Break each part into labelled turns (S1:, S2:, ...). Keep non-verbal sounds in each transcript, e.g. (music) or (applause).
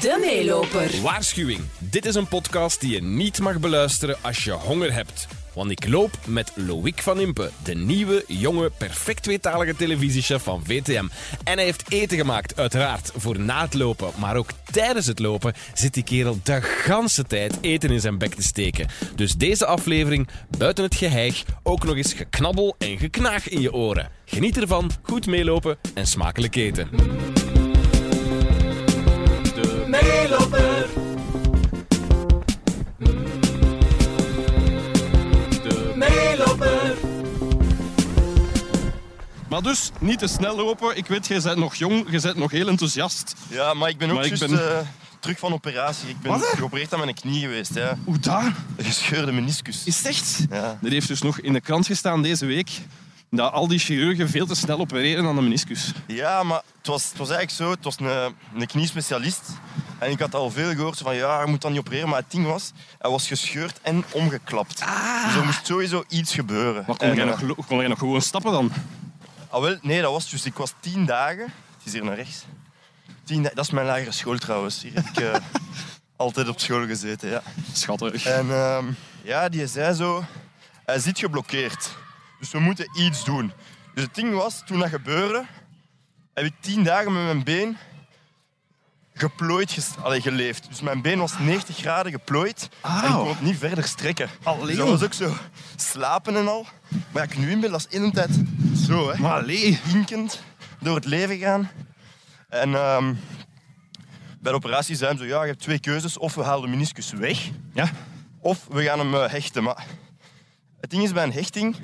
S1: De meeloper.
S2: Waarschuwing. Dit is een podcast die je niet mag beluisteren als je honger hebt. Want ik loop met Loïc van Impe, de nieuwe, jonge, perfect tweetalige televisiechef van VTM. En hij heeft eten gemaakt, uiteraard, voor na het lopen. Maar ook tijdens het lopen zit die kerel de ganse tijd eten in zijn bek te steken. Dus deze aflevering, buiten het geheig, ook nog eens geknabbel en geknaag in je oren. Geniet ervan, goed meelopen en smakelijk eten.
S3: Maar dus, niet te snel lopen. Ik weet, jij bent nog jong, je bent nog heel enthousiast.
S4: Ja, maar ik ben ook
S3: Maar ik
S4: juist
S3: ben-
S4: eh, terug van operatie. Ik ben
S3: Wat, hè?
S4: geopereerd aan mijn knie geweest. Ja. (laughs)
S3: Hoe daar?
S4: Een gescheurde meniscus.
S3: Is het echt?
S4: Ja.
S3: Er heeft dus nog in de krant gestaan deze week dat al die chirurgen veel te snel opereren aan de meniscus.
S4: Ja, maar het was, het was eigenlijk zo. Het was een, een kniespecialist. En ik had al veel gehoord van ja, je moet dan niet opereren. Maar het ding was, hij was gescheurd en omgeklapt.
S3: Ah.
S4: Dus er moest sowieso iets gebeuren.
S3: Maar kon,
S4: En,
S3: jij,
S4: eh,
S3: nog, lo- kon jij nog gewoon stappen dan?
S4: ah, wel, nee, dat was dus. Ik was tien dagen. Het is hier naar rechts. Tien, da- dat is mijn lagere school trouwens. Hier heb ik eh, (laughs) altijd op school gezeten. Ja.
S3: Schattig.
S4: En ehm, ja, die zei zo, hij zit geblokkeerd. Dus we moeten iets doen. Dus het ding was, toen dat gebeurde, heb ik tien dagen met mijn been geplooid ges- allee, geleefd. Dus mijn been was 90 graden geplooid en ik
S3: Auw.
S4: kon het niet verder strekken.
S3: Allee,
S4: Dus dat was ook zo slapen en al. Maar ja, ik nu in ben, dat is in een tijd zo, hè.
S3: Maar allee.
S4: Hinkend door het leven gaan. En ehm, bij de operatie zei hij zo, ja, je hebt twee keuzes. Of we halen de meniscus weg,
S3: Ja.
S4: of we gaan hem eh, hechten. Maar het ding is, bij een hechting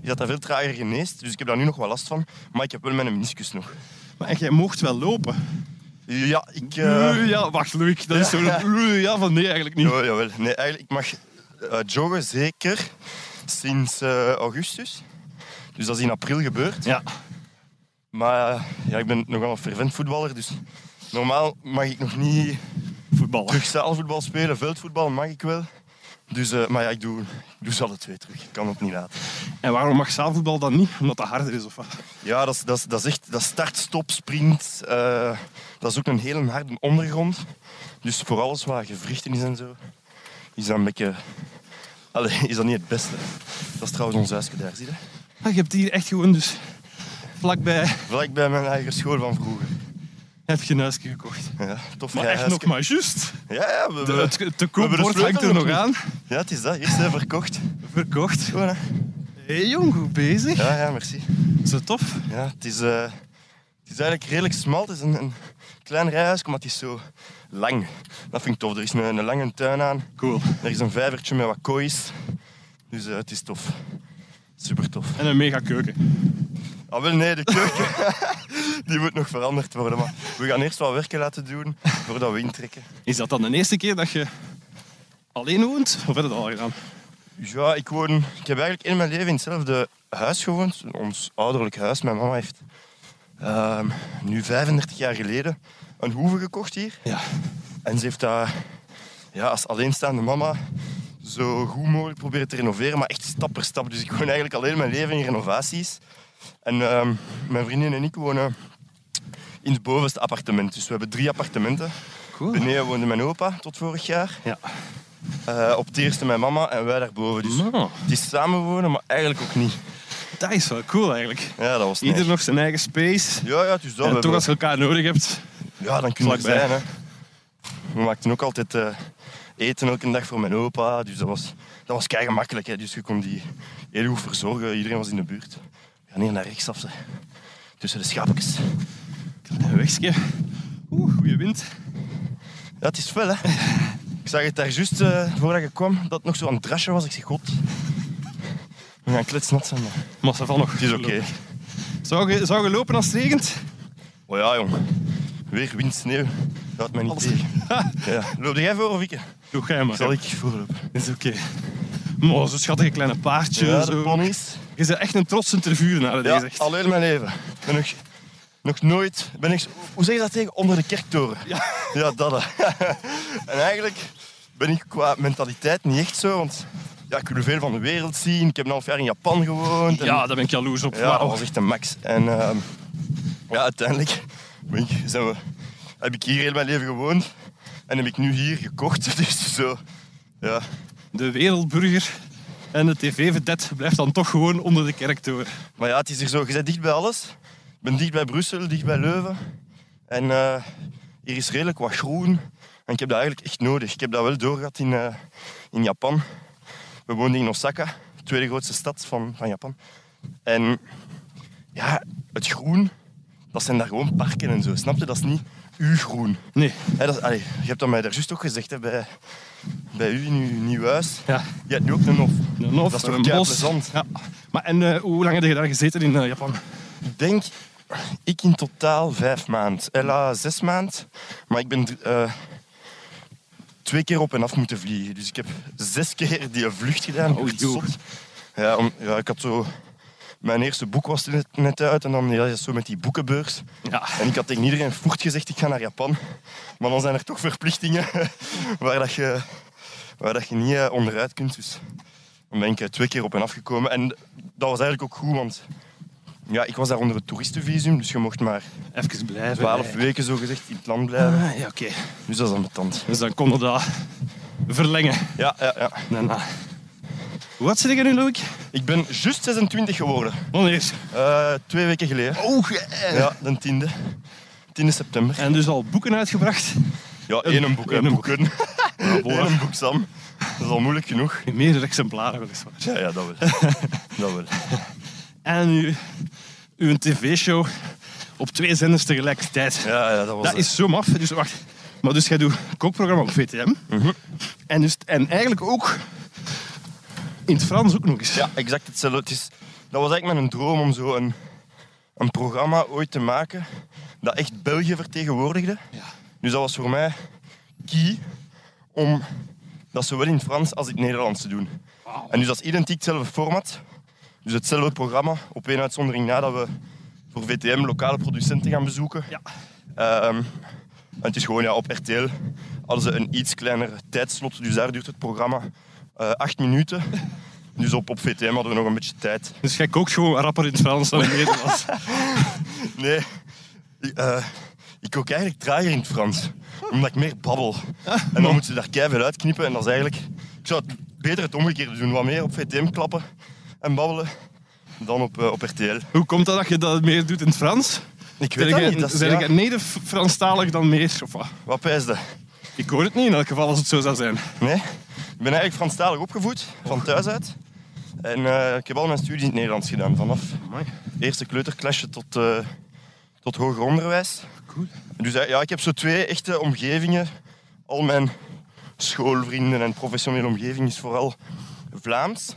S4: is dat dat veel trager geneest. Dus ik heb daar nu nog wel last van. Maar ik heb wel mijn meniscus nog.
S3: Maar echt, jij mocht wel lopen.
S4: Ja, ik... eh,
S3: Oeh, Ja, wacht, Loïc. Dat is zo'n oeh, ja van nee, eigenlijk niet.
S4: jawel, jawel. Nee, eigenlijk, ik mag eh, joggen zeker sinds eh, augustus. Dus dat is in april gebeurd.
S3: Ja.
S4: Maar eh, ja, ik ben nogal een fervent voetballer, dus normaal mag ik nog niet
S3: Voetballen.
S4: terug zaalvoetbal spelen. Veldvoetbal mag ik wel. Dus, eh, maar ja, ik doe, ik doe ze alle twee terug. Ik kan het niet laten.
S3: En waarom mag zaalvoetbal dan niet? Omdat dat harder is of wat?
S4: Ja, dat is, dat is, dat is echt dat is start, stop, sprint. eh, dat is ook een hele harde ondergrond. Dus voor alles waar gewrichten is en zo, is dat een beetje... Allee, is dat niet het beste. Dat is trouwens ons huisje daar, zie je?
S3: Ah, je hebt hier echt gewoon dus vlakbij
S4: Vlak bij mijn eigen school van vroeger.
S3: heb je een huisje gekocht.
S4: Ja, tof
S3: Maar echt
S4: rijhuisje.
S3: nog maar juist.
S4: Ja, ja, we,
S3: De-
S4: we-
S3: Het te
S4: we hebben de
S3: koopbord
S4: sleutel
S3: hangt er nog aan.
S4: ja, het is dat. Hier zijn verkocht.
S3: Verkocht.
S4: Goed, hè?
S3: Hé jong, goed bezig.
S4: Ja, ja, merci.
S3: Zo tof.
S4: Ja, het is, eh, het is eigenlijk redelijk smal. Het is een, een klein rijhuis, maar het is zo lang. Dat vind ik tof. Er is een, een lange tuin aan.
S3: Cool.
S4: Er is een vijvertje met wat koois. Dus eh, het is tof. Super tof.
S3: En een mega keuken.
S4: Ah, wel nee, de keuken (laughs) die moet nog veranderd worden. Maar we gaan eerst wat werken laten doen voordat we intrekken.
S3: Is dat dan de eerste keer dat je alleen woont? Of heb je dat al gedaan?
S4: Ja, ik woon. Ik heb eigenlijk in mijn leven in hetzelfde huis gewoond. Ons ouderlijk huis. Mijn mama heeft ehm, nu 35 jaar geleden een hoeve gekocht hier.
S3: Ja.
S4: En ze heeft dat ja, als alleenstaande mama zo goed mogelijk proberen te renoveren, maar echt stap per stap. Dus ik woon eigenlijk alleen mijn leven in renovaties. En ehm, mijn vriendin en ik wonen in het bovenste appartement. Dus we hebben drie appartementen.
S3: Cool.
S4: Beneden woonde mijn opa tot vorig jaar.
S3: Ja.
S4: Eh, op het eerste mijn mama en wij daarboven. Dus
S3: Nou,
S4: het is samenwonen, maar eigenlijk ook niet.
S3: dat is wel cool eigenlijk.
S4: Ja, dat was nice.
S3: Ieder nog zijn eigen space.
S4: Ja, ja, dus dat.
S3: En toch
S4: we hebben-
S3: als je elkaar nodig hebt.
S4: Ja, dan kun je er
S3: Vlakbij.
S4: zijn. Hè. We maakten ook altijd eh, eten elke dag voor mijn opa. Dus dat was, dat was kei gemakkelijk. Hè. Dus je kon die heel goed verzorgen. Iedereen was in de buurt. We gaan hier naar rechtsaf. Hè. Tussen de schapjes.
S3: Een wegje. Oeh, goede wind.
S4: Ja, het is fel, (laughs) hè. Ik zag het daar juist eh, voordat je kwam, dat het nog zo aan het drasje was. Ik zeg, god. We gaan kletsnat zijn, maar
S3: Massa van nog.
S4: het is oké.
S3: Zou, je, zou je lopen als het regent?
S4: Oh ja, jong. Weer wind, sneeuw. Dat houdt mij niet
S3: Alles.
S4: tegen. (laughs) Ja. Loop jij voor of ik?
S3: Doe jij maar.
S4: Zal ik voorlopen?
S3: Is oké. Maar zo'n schattige kleine paardje.
S4: Ja, de
S3: zo.
S4: ponies.
S3: Je bent echt een trotse interviewenaar,
S4: Ja,
S3: deze. echt.
S4: alleen mijn leven. Ik ben nog, nog nooit... Ben ik, hoe zeg je dat tegen? Onder de kerktoren.
S3: Ja.
S4: Ja, dat. hè. (laughs) en eigenlijk ben ik qua mentaliteit niet echt zo, want... Ja, ik wil veel van de wereld zien. Ik heb een half jaar in Japan gewoond. en-
S3: Ja, daar ben ik jaloers op.
S4: ja, dat
S3: Wauw.
S4: was echt een max. En ehm, ja, uiteindelijk ben ik, zijn we, heb ik hier heel mijn leven gewoond. En heb ik nu hier gekocht. (laughs) Dus zo, ja.
S3: De wereldburger en de tv-vedet blijft dan toch gewoon onder de kerktoren.
S4: Maar ja, het is hier zo. Je bent dicht bij alles. Ik ben dicht bij Brussel, dicht bij Leuven. En eh, hier is redelijk wat groen. En ik heb dat eigenlijk echt nodig. Ik heb dat wel doorgehad in, eh, in Japan. We woonden in Osaka, de tweede grootste stad van, van Japan. En ja, het groen, dat zijn daar gewoon parken en zo. Snap je? Dat is niet uw groen.
S3: Nee,
S4: Hè, dat is- allee, je hebt dat mij daar juist ook gezegd hè, bij, bij u in uw nieuw huis.
S3: ja.
S4: Je hebt nu ook een hof.
S3: Een hof,
S4: Dat is toch
S3: een bos.
S4: plezant.
S3: Ja. Maar en eh, hoe lang heb je daar gezeten in eh, Japan?
S4: Ik denk, ik in totaal vijf maand. Ella zes maand. Maar ik ben eh, twee keer op en af moeten vliegen. Dus ik heb zes keer die vlucht gedaan. Ik
S3: Oh,
S4: werd
S3: joh.
S4: zot. Ja, om- ja, ik had zo... Mijn eerste boek was net, net uit en dan ja, dat is zo met die boekenbeurs.
S3: Ja.
S4: En ik had tegen iedereen voert gezegd, ik ga naar Japan. Maar dan zijn er toch verplichtingen (laughs) waar, dat je, waar dat je niet eh, onderuit kunt. Dus dan ben ik eh, twee keer op en afgekomen. En dat was eigenlijk ook goed, want ja, ik was daar onder het toeristenvisum. Dus je mocht maar
S3: Even blijven.
S4: twaalf
S3: Eh,
S4: weken zogezegd in het land blijven.
S3: ah, ja, oké.
S4: Dus dat is ambetant.
S3: Dus dan konden we dat verlengen.
S4: Ja, ja, ja.
S3: Daarna. Hoe oud zit je nu, Loïc?
S4: Ik ben juist 26 geworden.
S3: Wanneer?
S4: Eh, twee weken geleden.
S3: Oh,
S4: Ja, de 10e. 10 september.
S3: En dus al boeken uitgebracht.
S4: Ja, één een boek. hè,
S3: één een boek.
S4: boeken. (laughs) Eén een boek, Sam. Dat is al moeilijk genoeg.
S3: In meerdere exemplaren weliswaar.
S4: Ja, ja dat wel. (laughs) dat wel.
S3: En uw, uw tv-show op twee zenders tegelijkertijd.
S4: Ja, ja, dat was
S3: Dat
S4: eh,
S3: is zo maf. Dus wacht. Maar dus jij doet kookprogramma op VTM.
S4: Mhm.
S3: en, dus, en eigenlijk ook in het Frans ook nog eens.
S4: Ja, exact hetzelfde. Het is, dat was eigenlijk mijn droom om zo een, een programma ooit te maken dat echt België vertegenwoordigde.
S3: Ja.
S4: Dus dat was voor mij key om dat zowel in het Frans als in het Nederlands te doen. En dus dat is identiek hetzelfde format. Dus hetzelfde programma, op één uitzondering na dat we voor VTM lokale producenten gaan bezoeken.
S3: Ja.
S4: Ehm, en het is gewoon ja, op RTL hadden ze een iets kleinere tijdslot, dus daar duurt het programma eh, acht minuten. Dus op, op VTM hadden we nog een beetje tijd.
S3: Dus jij kookt gewoon rapper in het Frans dan in het
S4: (laughs)
S3: Nederlands.
S4: Nee, ik, eh, ik kook eigenlijk trager in het Frans, omdat ik meer babbel. En dan moeten ze daar keihard uitknippen en dat is eigenlijk... Ik zou het beter het omgekeerde doen, wat meer op VTM klappen en babbelen dan op, eh, op RTL.
S3: Hoe komt dat dat je dat meer doet in het Frans?
S4: Ik weet
S3: Ben
S4: dat
S3: jij-
S4: niet, dat is-
S3: ben
S4: ja.
S3: jij mede Franstalig dan meer? Of wat?
S4: Wat pijs dat?
S3: Ik hoor het niet in elk geval als het zo zou zijn.
S4: Nee, ik ben eigenlijk Franstalig opgevoed, van thuis uit. En eh, ik heb al mijn studie in het Nederlands gedaan, vanaf eerste kleuterklasje tot, eh, tot hoger onderwijs.
S3: Cool.
S4: Dus eh, ja, ik heb zo twee echte omgevingen. Al mijn schoolvrienden en professionele omgeving is vooral Vlaams.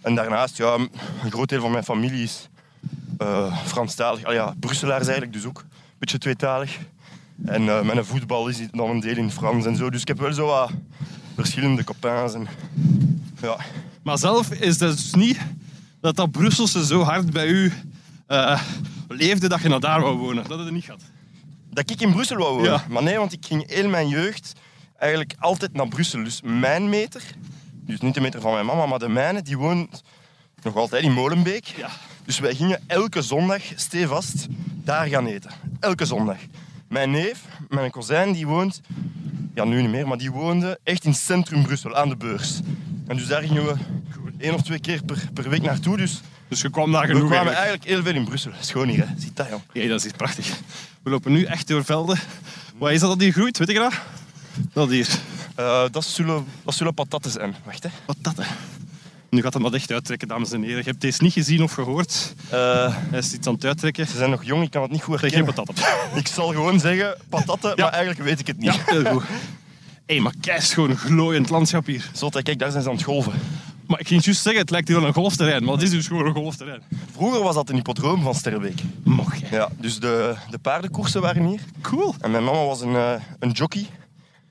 S4: En daarnaast, ja, een groot deel van mijn familie is eh, Franstalig. Ah ja, Brusselaars eigenlijk dus ook. Een beetje tweetalig. En eh, mijn voetbal is dan een deel in Frans en zo. Dus ik heb wel zo wat verschillende copains. En, ja.
S3: Maar zelf is dat dus niet dat dat Brusselse zo hard bij u eh, leefde dat je naar daar wou wonen. Dat het er niet gaat.
S4: Dat ik in Brussel wou wonen.
S3: Ja.
S4: Maar nee, want ik ging heel mijn jeugd eigenlijk altijd naar Brussel. Dus mijn meter, dus niet de meter van mijn mama, maar de mijne, die woont nog altijd in Molenbeek.
S3: Ja.
S4: Dus wij gingen elke zondag stevast daar gaan eten. Elke zondag. Mijn neef, mijn kozijn, die woont, ja nu niet meer, maar die woonde echt in centrum Brussel, aan de beurs. En dus daar gingen we één of twee keer per, per week naartoe. Dus
S3: Dus je kwam daar
S4: we
S3: genoeg
S4: kwamen
S3: eigenlijk.
S4: eigenlijk heel veel in Brussel. Schoon hier, hè. Ziet dat, jong.
S3: Ja, dat is echt prachtig. We lopen nu echt door velden. Wat is dat dat hier groeit? Weet je dat? Dat hier.
S4: Eh, dat, zullen, dat zullen patatten zijn. Wacht, hè.
S3: Wat dat, hè? Nu gaat hem dat echt uittrekken, dames en heren. Je hebt deze niet gezien of gehoord.
S4: Eh,
S3: Hij is iets aan het uittrekken.
S4: ze zijn nog jong, ik kan het niet goed
S3: Zeg geen
S4: herkennen.
S3: patat op.
S4: (laughs) Ik zal gewoon zeggen patatten,
S3: Ja.
S4: maar eigenlijk weet ik het niet.
S3: Ja, heel goed. Hé, hey, maar kijk, gewoon glooiend landschap hier.
S4: Zot, hè, kijk, daar zijn ze aan het golven.
S3: Maar ik ging juist zeggen, het lijkt hier wel een golfterrein. Maar het is dus gewoon een golfterrein.
S4: Vroeger was dat een hippodroom van Sterbeek.
S3: Mocht jij.
S4: Ja, dus de, de paardenkoersen waren hier.
S3: Cool.
S4: En mijn mama was een, eh, een jockey.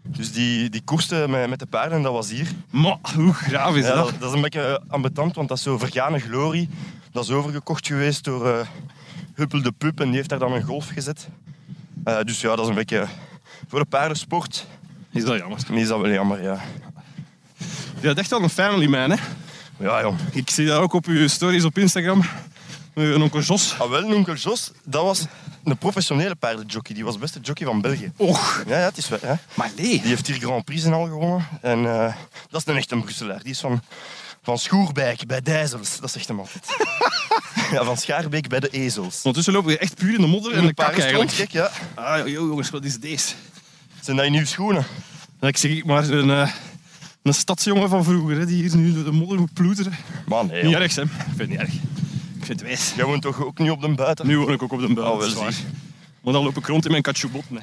S4: Dus die, die koerste met, met de paarden, en dat was hier.
S3: Maar hoe graaf is
S4: Ja,
S3: dat?
S4: dat, dat is een beetje eh, ambetant, want dat is zo vergane glorie. Dat is overgekocht geweest door eh, Huppel de Pup en die heeft daar dan een golf gezet. Eh, dus ja, dat is een beetje... Voor de paardensport
S3: Is dat jammer.
S4: is dat wel jammer, ja.
S3: Je hebt echt wel een family man, hè?
S4: Ja, jong.
S3: Ik zie dat ook op uw stories op Instagram. Een onkel Jos.
S4: Ah, wel, onkel Jos, dat was een professionele paardenjockey. Die was beste jockey van België.
S3: Och,
S4: Ja, ja het is wel. Hè.
S3: maar nee.
S4: Die heeft hier Grand Prix en al gewonnen. En eh, dat is een echte Brusselaar. Die is van, van Schoerbijk bij Dijzels. Dat zegt hem altijd. (laughs) ja, van Schaarbeek bij de Ezels.
S3: Ondertussen lopen we echt puur in de modder en de kak eigenlijk.
S4: gek, ja.
S3: Ah, joh, jongens, wat is deze?
S4: Zijn dat je nieuwe schoenen?
S3: En ik zeg maar een, eh, een stadsjongen van vroeger, hè, die hier nu door de modder moet ploeteren.
S4: Maar nee.
S3: Niet
S4: joh.
S3: erg, Sam. Ik vind het niet erg. Ik vind het wijs.
S4: Jij woont toch ook niet op de buiten?
S3: Nu woon ik ook op de buil,
S4: Oh, wel
S3: dat is waar.
S4: zie.
S3: Maar dan loop ik rond in mijn katjubot. Nee.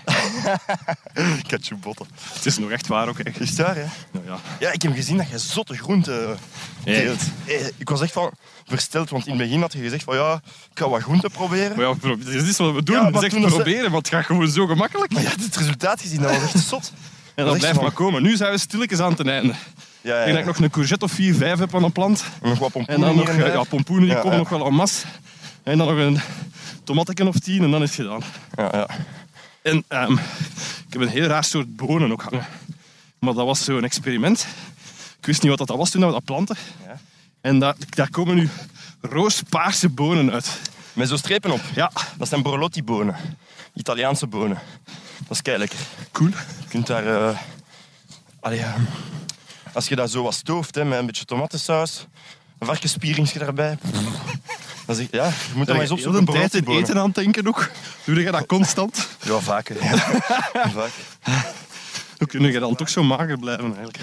S4: (laughs) Ik had je botten.
S3: (laughs) Het is nog echt waar ook. Echt.
S4: Is het waar, hè?
S3: Nou ja.
S4: Ja, ik heb gezien dat je zotte groenten teelt. Eh, Ik was echt van versteld, want in het begin had je gezegd van ja, ik ga wat groenten proberen.
S3: Maar ja, pro- dit is wat we doen.
S4: Ja, maar
S3: Het is echt
S4: toen dat ze-
S3: proberen, want het gaat gewoon zo gemakkelijk.
S4: Maar je had het resultaat gezien, dat was
S3: (laughs)
S4: echt zot.
S3: En
S4: dat
S3: dat
S4: is
S3: blijft
S4: van-
S3: maar komen. Nu zijn we stilletjes aan het einde.
S4: Ja, ja,
S3: Ik denk dat ik nog een courgette of 4, 5 heb aan een plant.
S4: Nog wat
S3: En
S4: pompoenen
S3: dan nog
S4: hier en
S3: eh,
S4: daar.
S3: ja, pompoenen, die
S4: Ja,
S3: komen
S4: ja.
S3: nog wel en mas. En dan nog een tomatteken of 10 en dan is het gedaan.
S4: Ja, ja.
S3: En ehm, ik heb een heel raar soort bonen ook hangen. Maar dat was zo'n experiment. Ik wist niet wat dat was toen dat we dat planten.
S4: Ja.
S3: En daar, daar komen nu roospaarse bonen uit.
S4: Met zo'n strepen op.
S3: Ja,
S4: Dat zijn borlotti-bonen. Italiaanse bonen. Dat is kei lekker.
S3: cool.
S4: Je kunt daar... eh, allee, eh, als je dat zo wat stooft, hè, met een beetje tomatensaus, een varkenspieringsje daarbij. Pff, Dat is echt- ja, je moet dat maar eens
S3: Heel
S4: opzoeken.
S3: de tijd in
S4: borlotti-bonen.
S3: eten aan het denken ook. Doe je dat constant?
S4: Ja, vaker.
S3: (laughs)
S4: Ja. vaker.
S3: Hoe kun je dan toch zo mager blijven eigenlijk?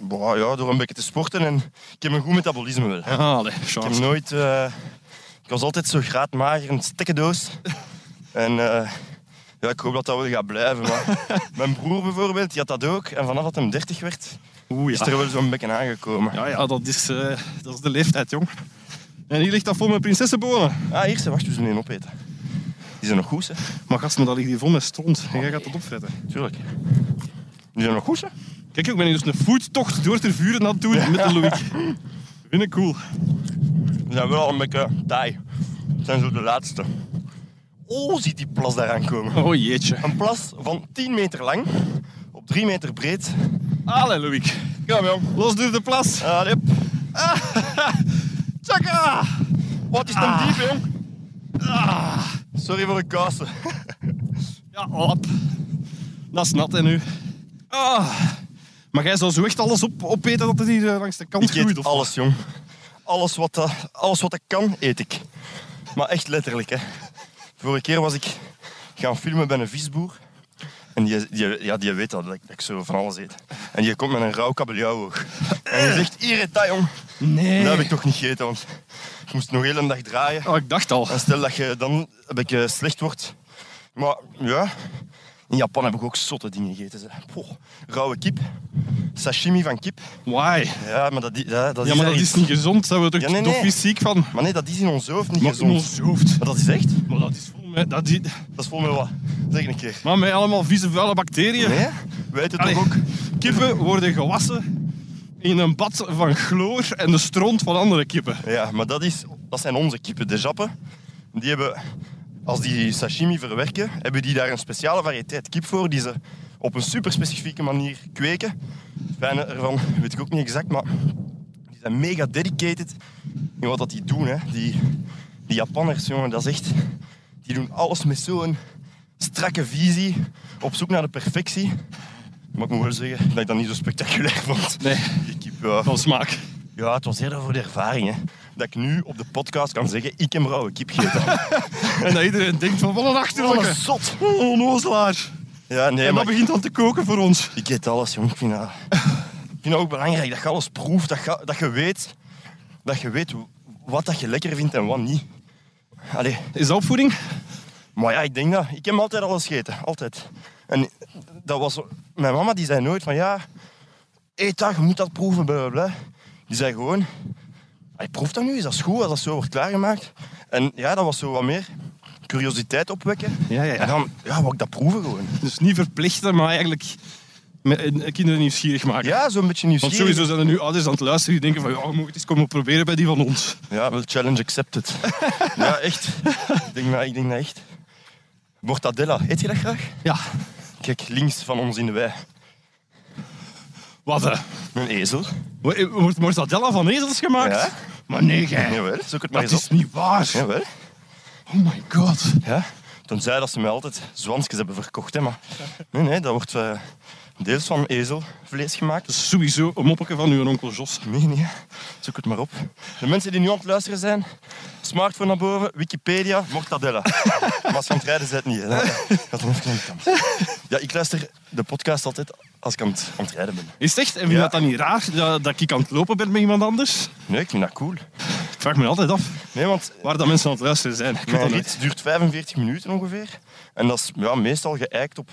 S4: Boah, ja, door een beetje te sporten en ik heb een goed metabolisme wel.
S3: Ja, Ah, allee,
S4: Ik
S3: chance.
S4: heb nooit... eh, ik was altijd zo graadmager, een stekkendoos. En eh, ja, ik hoop dat dat wel gaat blijven.
S3: (laughs)
S4: Maar mijn broer bijvoorbeeld, die had dat ook. En vanaf dat hem 30 werd,
S3: Oeh,
S4: is
S3: ja.
S4: er wel zo'n beetje aangekomen.
S3: Ja, ja dat, is, eh, dat is de leeftijd, jong. En hier ligt dat vol met prinsessenbonen.
S4: Ah, hier, ze wacht, we zullen een opeten. Die zijn nog goed, hè?
S3: Maar gast, maar dat ligt hier vol met stront. En jij gaat dat opfretten.
S4: Tuurlijk. Die zijn nog goed, hè?
S3: Kijk, ik ben hier dus een foodtocht door ter vuren aan het doen met de Loïc. (laughs) Vind ik cool.
S4: Die zijn wel al een beetje taai. Dat zijn zo de laatste. Oh, ziet die plas daar aankomen.
S3: Oh jeetje.
S4: Een plas van 10 meter lang, op 3 meter breed.
S3: Allee, Loïc.
S4: Kom, jong.
S3: Los door de plas.
S4: Allee.
S3: Tjaka!
S4: Wat is dan
S3: Ah.
S4: diep, jong? Sorry voor de kassen.
S3: Ja, op. Dat is nat, hè, nu. Ah. Maar jij zou zo echt alles op, opeten dat het hier eh, langs de kant
S4: Ik
S3: groeit?
S4: eet
S3: Of...
S4: alles, jong. Alles wat, dat, alles wat ik kan, eet ik. Maar echt letterlijk, hè. Vorige keer was ik gaan filmen bij een visboer. En die, die, ja, die weet dat, dat ik- dat ik zo van alles eet. En die komt met een rauw kabeljauw hoog. En die zegt, hier, eet dat, jong.
S3: Nee.
S4: Dat heb ik toch niet gegeten, want ik moest nog heel een dag draaien.
S3: Nou, Oh, ik dacht al.
S4: En stel dat je dan een beetje slecht wordt. Maar ja, in Japan heb ik ook zotte dingen gegeten. Zeg. Poh, rauwe kip, sashimi van kip.
S3: Why?
S4: Ja, maar dat, i- dat, dat
S3: Ja, maar
S4: is
S3: dat
S4: daar
S3: is
S4: iets-
S3: niet gezond. Daar worden we
S4: Ja,
S3: toch
S4: nee, nee.
S3: dof fysiek van.
S4: Maar nee, dat is in ons hoofd niet
S3: Maar in
S4: gezond.
S3: ons hoofd.
S4: Maar dat is echt?
S3: Maar dat is vol met... Dat is...
S4: Dat is vol met wat? Zeg een keer.
S3: Maar met allemaal vieze, vuile bacteriën.
S4: Nee? Weet het
S3: Allee,
S4: toch ook?
S3: Kippen worden gewassen in een bad van chloor en de stront van andere kippen.
S4: Ja, maar dat, is, dat zijn onze kippen, de jappen. Die hebben, als die sashimi verwerken, hebben die daar een speciale variëteit kip voor die ze op een super specifieke manier kweken. Het fijne ervan weet ik ook niet exact, maar die zijn mega dedicated in wat dat die doen. Hè. Die, die Japanners, jongen, dat is echt... Die doen alles met zo'n strakke visie, op zoek naar de perfectie. Maar ik moet wel zeggen dat ik dat niet zo spectaculair vond.
S3: Nee,
S4: Die kip, ja.
S3: van smaak.
S4: Ja, het was eerder voor de ervaring, hè. Dat ik nu op de podcast kan zeggen, ik heb rauwe kip gegeten.
S3: (laughs) En dat iedereen denkt van, wat een achterlijke.
S4: zot.
S3: Wat een onnozelaar.
S4: Ja, nee,
S3: En dat
S4: maar ik,
S3: begint dan te koken voor ons.
S4: ik eet alles, jong. Ik vind, dat, ik vind dat ook belangrijk, dat je alles proeft, dat je, dat je weet... Dat je weet wat dat je lekker vindt en wat niet. Allee,
S3: Is dat opvoeding?
S4: maar ja, ik denk dat. Ik heb altijd alles gegeten, altijd. En dat was... Mijn mama die zei nooit van, ja... Eet dat, je moet dat proeven, bla, bla, bla. Die zei gewoon... Hij proeft dat nu, is dat goed, als dat zo wordt klaargemaakt? En ja, dat was zo wat meer curiositeit opwekken.
S3: Ja, ja,
S4: En dan, ja, wou ik dat proeven gewoon.
S3: Dus niet verplichten, maar eigenlijk met- eh, kinderen nieuwsgierig maken.
S4: Ja, zo'n beetje
S3: Want
S4: nieuwsgierig.
S3: sowieso zijn er nu ouders aan het luisteren die denken van, ja, we moeten eens komen proberen bij die van ons.
S4: Ja, wel challenge
S3: (laughs)
S4: accepted. ja, echt. Ik denk dat, ik denk dat echt. Mortadella, eet je dat graag?
S3: Ja,
S4: Kijk, links van ons in de wei.
S3: wat hè?
S4: Een ezel.
S3: eh, Wordt mortadella eh, van ezels gemaakt?
S4: Ja.
S3: Maar nee, jij.
S4: (laughs) Jawel, zoek het maar
S3: dat
S4: eens
S3: is
S4: op.
S3: niet waar.
S4: Jawel.
S3: Oh my god.
S4: Ja, tenzij dat ze mij altijd zwansjes hebben verkocht. Hè, maar nee, nee, dat wordt eh, deels van ezelvlees gemaakt.
S3: Dat
S4: Dus
S3: is sowieso een moppetje van uw onkel Jos.
S4: nee, nee, zoek het maar op. De mensen die nu aan het luisteren zijn, smartphone naar boven, Wikipedia, (laughs) mortadella. maar als je aan het rijden bent, niet. Hè. Dan- Dat dan even aan de kant. Ja, ik luister de podcast altijd als ik aan het, aan het rijden ben.
S3: Is het echt? En vind je
S4: Ja.
S3: dat dan niet raar dat, dat ik aan het lopen ben met iemand anders?
S4: Nee, ik vind dat cool.
S3: Ik vraag me altijd af
S4: Nee, want
S3: waar dat mensen aan het luisteren zijn. Ik weet
S4: Mijn
S3: dat niet.
S4: rit duurt 45 minuten ongeveer. En dat is ja, meestal geëikt op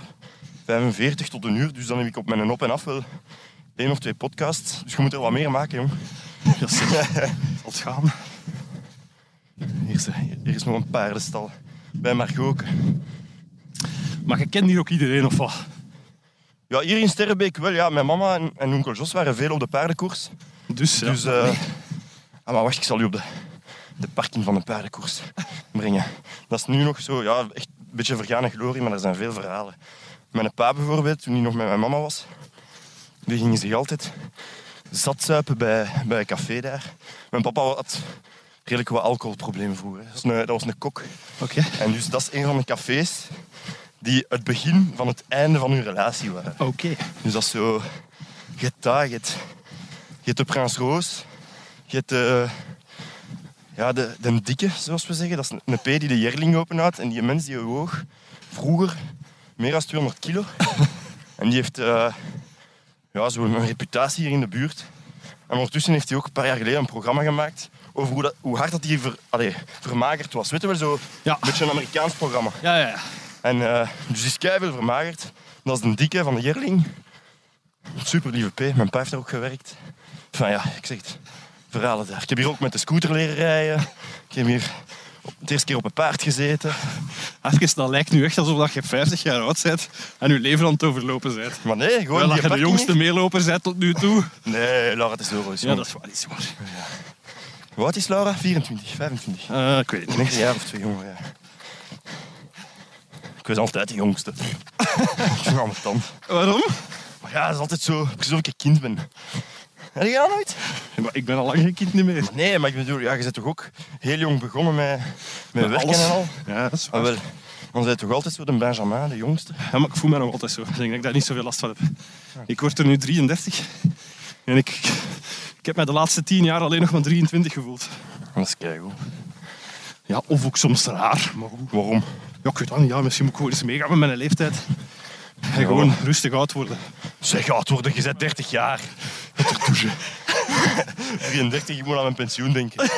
S4: 45 tot een uur. Dus dan heb ik op mijn op en af wel één of twee podcasts. Dus je moet er wat meer maken, jong. (laughs)
S3: Ja, zeg. Zal het gaan.
S4: Hier is, hier is nog een paardenstal. Bij Margoken.
S3: Maar je kent hier ook iedereen of wat?
S4: Ja, hier in Sterrebeek wel. Ja, mijn mama en, en onkel Jos waren veel op de paardenkoers.
S3: Dus, ja.
S4: Dus... eh, (laughs) Ah, maar wacht, ik zal u op de, de parking van de paardenkoers brengen. Dat is nu nog zo, ja, echt een beetje vergane glorie, maar er zijn veel verhalen. Mijn pa bijvoorbeeld, toen hij nog met mijn mama was, die gingen zich altijd zat zuipen bij, bij een café daar. Mijn papa had redelijk wat alcoholproblemen vroeger. Dat was een, dat was een kok.
S3: Oké.
S4: En dus dat is een van de cafés die het begin van het einde van hun relatie waren.
S3: Oké.
S4: Dus dat is zo... Je hebt dat, je hebt, je hebt de Prins Roos. Je hebt de... Ja, de, de dikke, zoals we zeggen. Dat is een- een P die de Jerling openhoudt. En die mens die woog vroeger meer dan 200 kilo. (laughs) en die heeft eh, ja, zo'n reputatie hier in de buurt. En ondertussen heeft hij ook een paar jaar geleden een programma gemaakt over hoe, dat, hoe hard dat hij ver, allee, vermagerd was. Weet je wel, zo
S3: Ja.
S4: een beetje een Amerikaans programma.
S3: Ja, ja, ja.
S4: En eh, dus die is keiveel vermagerd. Dat is een dikke van de Jerling. Super lieve P. Mijn pa heeft daar ook gewerkt. Van ja, ik zeg het. Verhalen daar. Ik heb hier ook met de scooter leren rijden. Ik heb hier op, de eerste keer op een paard gezeten.
S3: Even, dat lijkt nu echt alsof dat je 50 jaar oud bent en je leven aan het overlopen bent.
S4: Maar nee, gewoon
S3: Wel dat
S4: die
S3: je de
S4: parking
S3: jongste meeloper bent tot nu toe.
S4: niet. Nee, Laura, het is Laura.
S3: Ja, dat is waar. Is waar.
S4: Hoe oud is Laura? 24, 25.
S3: Eh, ik weet het niet.
S4: Een jaar of twee jonger, ja. Ik was altijd de jongste. (laughs) ik vind het irritant.
S3: Waarom?
S4: Maar ja, dat is altijd zo. Precies of ik een kind ben. Heb je dat nooit?
S3: Maar ik ben al lang geen kind niet meer.
S4: Nee, maar ik bedoel, ja, je bent toch ook heel jong begonnen met, met werken
S3: alles.
S4: en al?
S3: Ja, dat is
S4: Ah,
S3: waar.
S4: wel, dan zijn toch altijd zo de Benjamin, de jongste?
S3: Ja, maar ik voel me nog altijd zo. Ik denk dat ik daar niet zoveel last van heb. Ik word er nu 33 en ik, ik heb mij de laatste 10 jaar alleen nog maar 23 gevoeld.
S4: Dat is keigoed.
S3: Ja, of ook soms raar. Maar goed.
S4: Waarom?
S3: Ja, ik weet dat niet. Ja, misschien moet ik gewoon eens meegaan met mijn leeftijd. En gewoon rustig oud worden.
S4: Zeg, oud worden, je bent 30 jaar. Het er douchen. 33, ik moet aan mijn pensioen denken.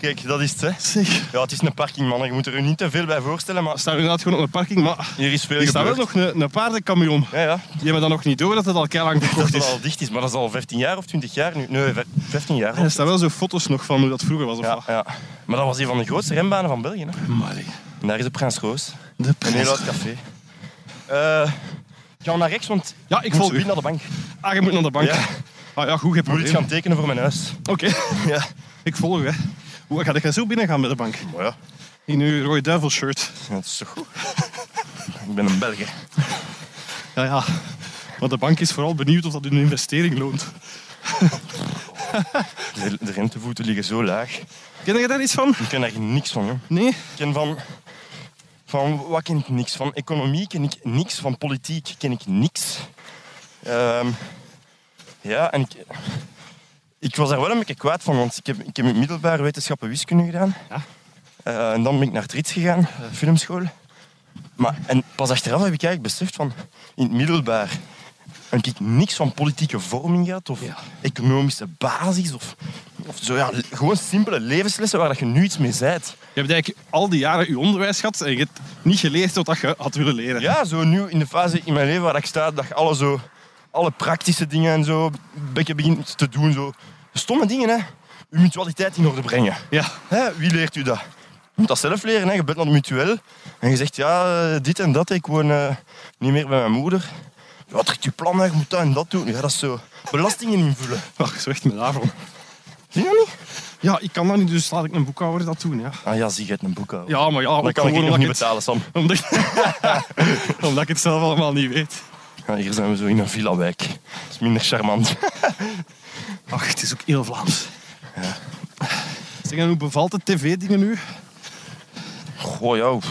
S4: Kijk, dat is het, hè.
S3: Zeg.
S4: Ja, het is een parking, man. Je moet er je niet te veel bij voorstellen, maar
S3: We staan inderdaad gewoon op een parking, maar
S4: hier is veel
S3: er staat wel
S4: gebeurd.
S3: nog een, een paardencamion.
S4: Ja, ja.
S3: Die hebben dan nog niet door dat het al keilang
S4: Dat
S3: verkocht
S4: het
S3: is.
S4: al dicht is, maar dat is al 15 jaar of 20 jaar nu. Nee, ver- 15 jaar.
S3: En er staan wel zo foto's nog van hoe dat vroeger was. Of
S4: Ja,
S3: wat.
S4: ja. Maar dat was een van de grootste renbanen van België, hè.
S3: Amai.
S4: En daar is de Prins Roos.
S3: De
S4: Een heel
S3: prins.
S4: oud café. Eh ga naar rechts, want
S3: Ja, ik
S4: ik moet
S3: volg
S4: zo
S3: u.
S4: binnen naar de bank.
S3: Ah, je moet naar de bank.
S4: Ja.
S3: Ah ja, goed, geen
S4: Ik moet iets
S3: probleem.
S4: gaan tekenen voor mijn huis.
S3: Oké,
S4: Ja.
S3: ik volg hè. Hoe ga ik er zo binnen gaan met de bank?
S4: Maar ja,
S3: In uw rode duivel shirt.
S4: dat is toch goed. ik ben een Belg.
S3: Ja, ja. Maar de bank is vooral benieuwd of dat hun investering loont.
S4: De, de rentevoeten liggen zo laag.
S3: Ken je daar iets van?
S4: Ik ken daar niks van, joh.
S3: Nee?
S4: Ik ken van... Van wat ken ik niks? Van economie ken ik niks. Van politiek ken ik niks. Ehm, ja, en ik... Ik was daar wel een beetje kwaad van, want ik heb, ik heb in het middelbaar wetenschappen wiskunde gedaan.
S3: Ja.
S4: Eh, en dan ben ik naar het Rits gegaan, eh, filmschool. Maar, en pas achteraf heb ik eigenlijk beseft van, in het middelbaar heb ik niks van politieke vorming gehad of
S3: Ja.
S4: economische basis of, of zo, ja, le- gewoon simpele levenslessen waar dat je nu iets mee zijt.
S3: Je hebt eigenlijk al die jaren je onderwijs gehad en je hebt niet geleerd wat dat je had willen leren.
S4: Ja, zo nu in de fase in mijn leven waar ik sta, dat je alle, zo, alle praktische dingen en zo een beetje begint te doen. Zo. Stomme dingen, hè. Je mutualiteit in orde brengen.
S3: Ja.
S4: Hè, wie leert u dat? Je moet dat zelf leren. Hè. Je bent naar het mutuel en je zegt ja, eh, dit en dat. Ik woon eh, niet meer bij mijn moeder. Ja, trek je plan, hè. je moet dat en dat doen. Ja, dat is zo. Belastingen invullen.
S3: Ach, zo echt me daarvan.
S4: Zie je dat niet?
S3: Ja, ik kan dat niet, dus laat ik een boekhouder dat doen, ja.
S4: Ah ja, zie je het een boekhouder.
S3: Ja, maar ja,
S4: dat
S3: ook
S4: kan
S3: gewoon
S4: ik nog
S3: omdat ik,
S4: niet
S3: het,
S4: betalen, Sam.
S3: omdat, ik- (laughs) omdat ik het zelf allemaal niet weet.
S4: Ja, hier zijn we zo in een villa-wijk. Dat is minder charmant.
S3: Ach, het is ook heel Vlaams. Zeg, en hoe bevalt het tv-dingen nu?
S4: Goh, ja. oef.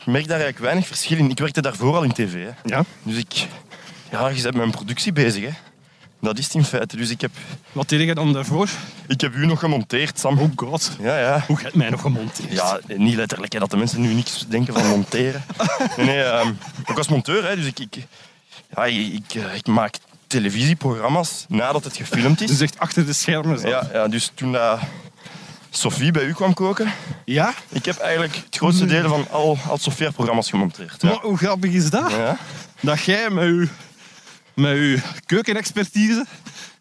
S4: Ik merk daar eigenlijk weinig verschil in. Ik werkte daarvoor al in tv. Hè.
S3: Ja.
S4: Dus ik... Ja, je bent met een productie bezig, hè. Dat is het in feite. Dus ik heb,
S3: Wat deed jij dan daarvoor?
S4: ik heb u nog gemonteerd, Sam.
S3: Oh god.
S4: Ja, ja.
S3: Hoe gaat mij nog gemonteerd?
S4: Ja, niet letterlijk, hè, dat de mensen nu niks denken van monteren. Nee, nee ehm, ik was monteur, hè, dus ik, ik, ja, ik, ik, eh, ik maak televisieprogramma's nadat het gefilmd is.
S3: Dus echt achter de schermen. zo.
S4: Ja, ja, dus toen eh, Sophie bij u kwam koken,
S3: Ja?
S4: ik heb eigenlijk het grootste deel van al, al Sophie haar programma's gemonteerd. Ja.
S3: Maar hoe grappig is dat?
S4: Ja.
S3: Dat jij met je, met uw keukenexpertise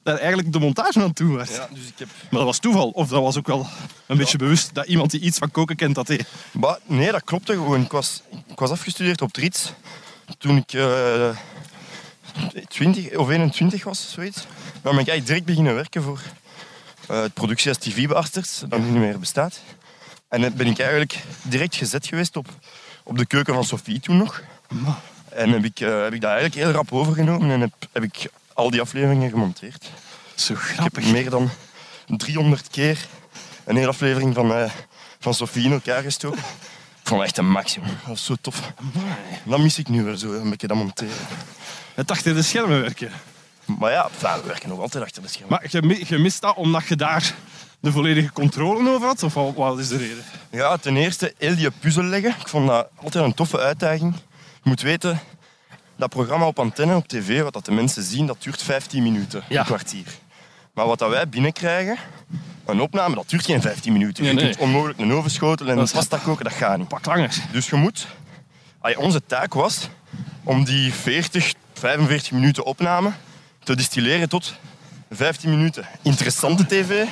S3: daar eigenlijk de montage aan toe was.
S4: Ja, dus ik heb...
S3: Maar dat was toeval. Of dat was ook wel een beetje bewust dat iemand die iets van koken kent, dat deed.
S4: Bah, nee, dat klopte gewoon. Ik was, ik was afgestudeerd op Trits toen ik eh 20 of 21 was, zoiets. Dan ben ik eigenlijk direct beginnen werken voor eh, het productie als TV-bearters, dat nu niet meer bestaat. En dan ben ik eigenlijk direct gezet geweest op, op de keuken van Sophie toen nog. En heb ik, eh, heb ik dat eigenlijk heel rap overgenomen en heb, heb ik al die afleveringen gemonteerd.
S3: Zo
S4: Ik
S3: grappig.
S4: heb meer dan 300 keer een hele aflevering van, eh, van Sofie in elkaar gestoken. Ik vond het echt een maximum. Dat was zo tof. Dat mis ik nu weer zo, een beetje dat monteren.
S3: Het achter de schermen werken.
S4: Maar ja, enfin, we werken nog altijd achter de schermen.
S3: Maar je, mi- je mist dat omdat je daar de volledige controle over had? Of wat, wat is de reden?
S4: Ja, ten eerste heel die puzzel leggen. Ik vond dat altijd een toffe uitdaging. Je moet weten, dat programma op antenne, op tv, wat dat de mensen zien, dat duurt 15 minuten,
S3: Ja.
S4: een kwartier. Maar wat dat wij binnenkrijgen, een opname, dat duurt geen 15 minuten.
S3: Nee,
S4: je
S3: nee.
S4: kunt onmogelijk een oven schotelen en
S3: Dat
S4: een
S3: is-
S4: pasta koken, dat gaat niet.
S3: Pak langer.
S4: Dus je moet... Allee, onze taak was om die 40, 45 minuten opname te distilleren tot 15 minuten. Interessante tv.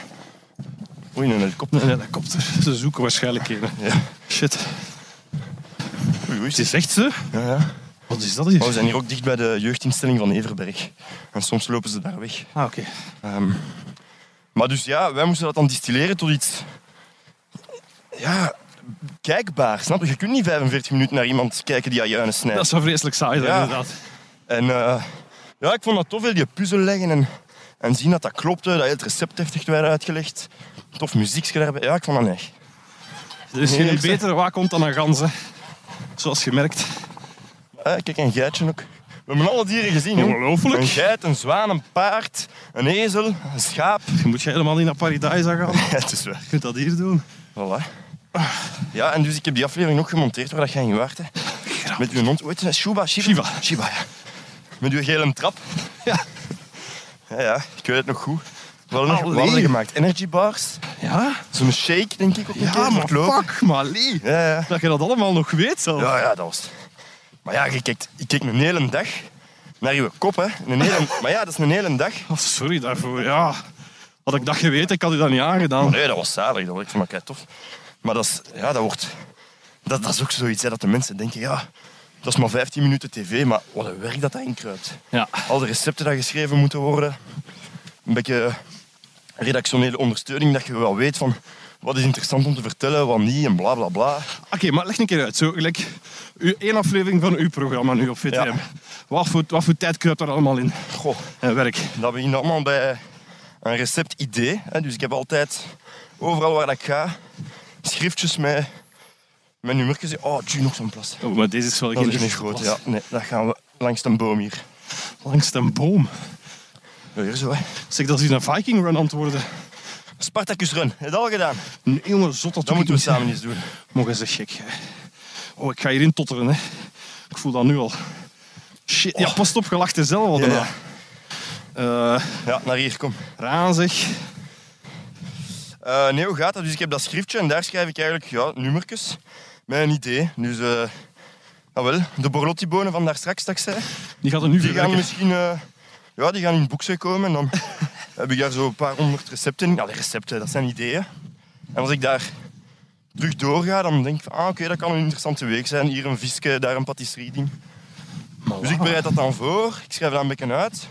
S4: Oei, een helikopter.
S3: Een helikopter. Ze zoeken waarschijnlijk een.
S4: Ja.
S3: Shit.
S4: Oei, oei.
S3: Het is echt ze.
S4: Ja, ja.
S3: Wat is dat hier?
S4: Maar we zijn hier ook dicht bij de jeugdinstelling van Everberg. En soms lopen ze daar weg.
S3: Ah, oké.
S4: Ehm, maar dus ja, wij moesten dat dan distilleren tot iets... Ja, kijkbaar, snap je? Je kunt niet 45 minuten naar iemand kijken die aan juinen snijdt.
S3: Dat zou vreselijk saai zijn,
S4: Ja.
S3: inderdaad. Dus
S4: En eh, ja, ik vond dat tof, heel die puzzel leggen en, en zien dat dat klopte, dat heel het recept heftig werd uitgelegd. Tof muziekje daarbij. Ja, ik vond dat echt.
S3: Er is
S4: Nee,
S3: geen
S4: ik zeg-
S3: betere waakhond dan een gans, hè. Zoals gemerkt.
S4: Eh, kijk, een geitje ook. We hebben alle dieren gezien, jong.
S3: Ongelooflijk.
S4: Een geit, een zwaan, een paard, een ezel, een schaap. (laughs)
S3: Je moet je helemaal niet naar Paradise gaan.
S4: Ja, het is waar.
S3: Je kunt dat hier doen.
S4: Voilà. Ja, en dus ik heb die aflevering ook gemonteerd waar dat jij in waart. hè. Met uw hond, hoe heet ze? Shuba, Shiba?
S3: Shiba.
S4: ja. Met uw gele trap.
S3: Ja.
S4: Ja, ja, ik weet het nog goed. We hadden, nog, we
S3: Allee.
S4: hadden gemaakt energy bars.
S3: Ja?
S4: Zo'n shake, denk ik, op een keer
S3: Ja,
S4: voor
S3: maar
S4: het lopen.
S3: fuck, maar Lee.
S4: Ja, ja.
S3: Dat je dat allemaal nog weet zelf.
S4: Ja, ja, dat was... Maar ja, je kijkt, je kijkt een hele dag naar je kop, hè.
S3: (laughs)
S4: Een hele... Maar ja, dat is een hele dag.
S3: Oh, sorry daarvoor, ja. Had ik dat geweten, ik had u dat niet aangedaan.
S4: Nee, dat was zalig. Dat was echt maar tof. Maar dat is... Ja, dat wordt... Dat, dat is ook zoiets, hè, dat de mensen denken, ja... Dat is maar 15 minuten tv, maar wat een werk dat daarin kruipt.
S3: Ja.
S4: Al de recepten die geschreven moeten worden. Een beetje redactionele ondersteuning, dat je wel weet van... Wat is interessant om te vertellen, wat niet, en bla, bla, bla.
S3: Oké, maar leg een keer uit. Zo, gelijk, uw één aflevering van uw programma nu op VTM.
S4: Ja.
S3: Wat, voor, wat voor tijd kruipt er allemaal in?
S4: Goh.
S3: En werk.
S4: Dat begint allemaal bij een receptidee. Hè. Dus ik heb altijd, overal waar dat ik ga, schriftjes met, met nummertjes. Oh, tjie, nog zo'n plas.
S3: Oh, maar deze is wel
S4: Dat
S3: geen
S4: is niet groot,
S3: plas.
S4: ja. Nee, dat gaan we langs de boom hier.
S3: Langs een boom.
S4: Ja, hier zo, hè.
S3: Zeg, dat is hier een Viking Run antwoorden.
S4: Spartacus Run, heb je dat al gedaan?
S3: Een jongen zot dat
S4: Dat moeten we samen eens doen.
S3: Mogen ze gek. hè. Oh, ik ga hierin totteren, hè. Ik voel dat nu al. Shit, ja, pas op, je lacht er zelf al
S4: Ja,
S3: daarna.
S4: ja.
S3: Eh,
S4: Ja, naar hier, kom.
S3: razig.
S4: Eh, nee, hoe gaat dat? Dus ik heb dat schriftje en daar schrijf ik eigenlijk ja, nummertjes met een idee. Dus, eh ah wel, de borlottibonen van daar straks, dat ik zei.
S3: Die gaat er nu
S4: Die gaan
S3: verwerken.
S4: misschien eh, ja, die gaan in het boekje komen. En dan (laughs) heb ik daar zo een paar honderd recepten in. Ja, die recepten, dat zijn ideeën. En als ik daar terug doorga, dan denk ik van, ah, oké, dat kan een interessante week zijn. Hier een visje, daar een patisserie ding.
S3: Maar
S4: Dus ik
S3: wauw.
S4: bereid dat dan voor. Ik schrijf dat een beetje uit.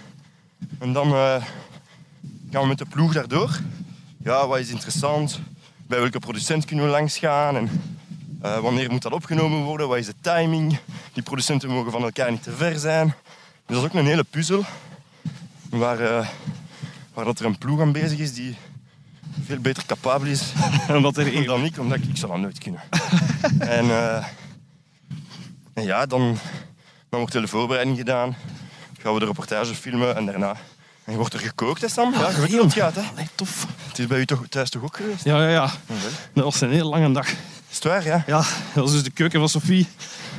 S4: En dan eh, gaan we met de ploeg daardoor. Ja, wat is interessant? Bij welke producent kunnen we langs gaan? En eh, wanneer moet dat opgenomen worden? Wat is de timing? Die producenten mogen van elkaar niet te ver zijn. Dus dat is ook een hele puzzel. Waar, eh, waar dat er een ploeg aan bezig is die veel beter capabel is
S3: (laughs) Omdat er één...
S4: dan ik, omdat ik, ik zou dat nooit
S3: (laughs)
S4: kunnen. en, eh, en ja, dan, dan wordt de voorbereiding gedaan. Gaan we de reportage filmen en daarna... En wordt er gekookt, hè, Sam? Ja, je weet niet hoe het gaat, hè?
S3: Allee, tof.
S4: Het is bij u toch, thuis toch ook geweest?
S3: Ja, ja, ja.
S4: Jawel.
S3: Dat was een heel lange dag.
S4: Is het waar, ja?
S3: Ja, dat was dus de keuken van Sophie.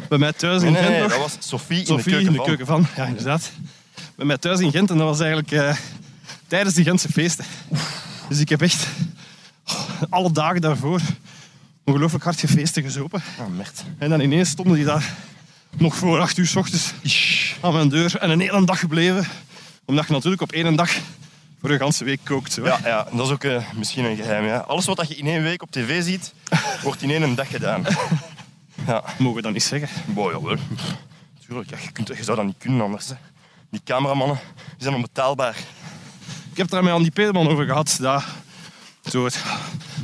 S3: Bij mij thuis
S4: Nee,
S3: in
S4: nee, nee,
S3: Gent nog.
S4: dat was Sophie,
S3: Sophie
S4: in de keuken van.
S3: van. Ja, inderdaad. Bij mij thuis in Gent. En dat was eigenlijk eh, tijdens die Gentse feesten. Dus ik heb echt oh, alle dagen daarvoor ongelooflijk hard gefeesten gezopen.
S4: Ah, merd.
S3: En dan ineens stonden die daar nog voor acht uur s ochtends aan mijn deur. En een hele dag gebleven. Omdat je natuurlijk op één dag voor een ganse week kookt. Zo. hè.
S4: Ja, ja, dat is ook eh, misschien een geheim. Ja. Alles wat dat je in één week op tv (laughs) ziet, wordt in één dag gedaan. Ja,
S3: Mogen we dat niet zeggen.
S4: boy, jawel. Tuurlijk, ja, je, kunt, je zou dat niet kunnen anders. Hè. Die cameramannen die zijn onbetaalbaar.
S3: Ik heb het daar met Andy Peterman over gehad. Dat, zo het,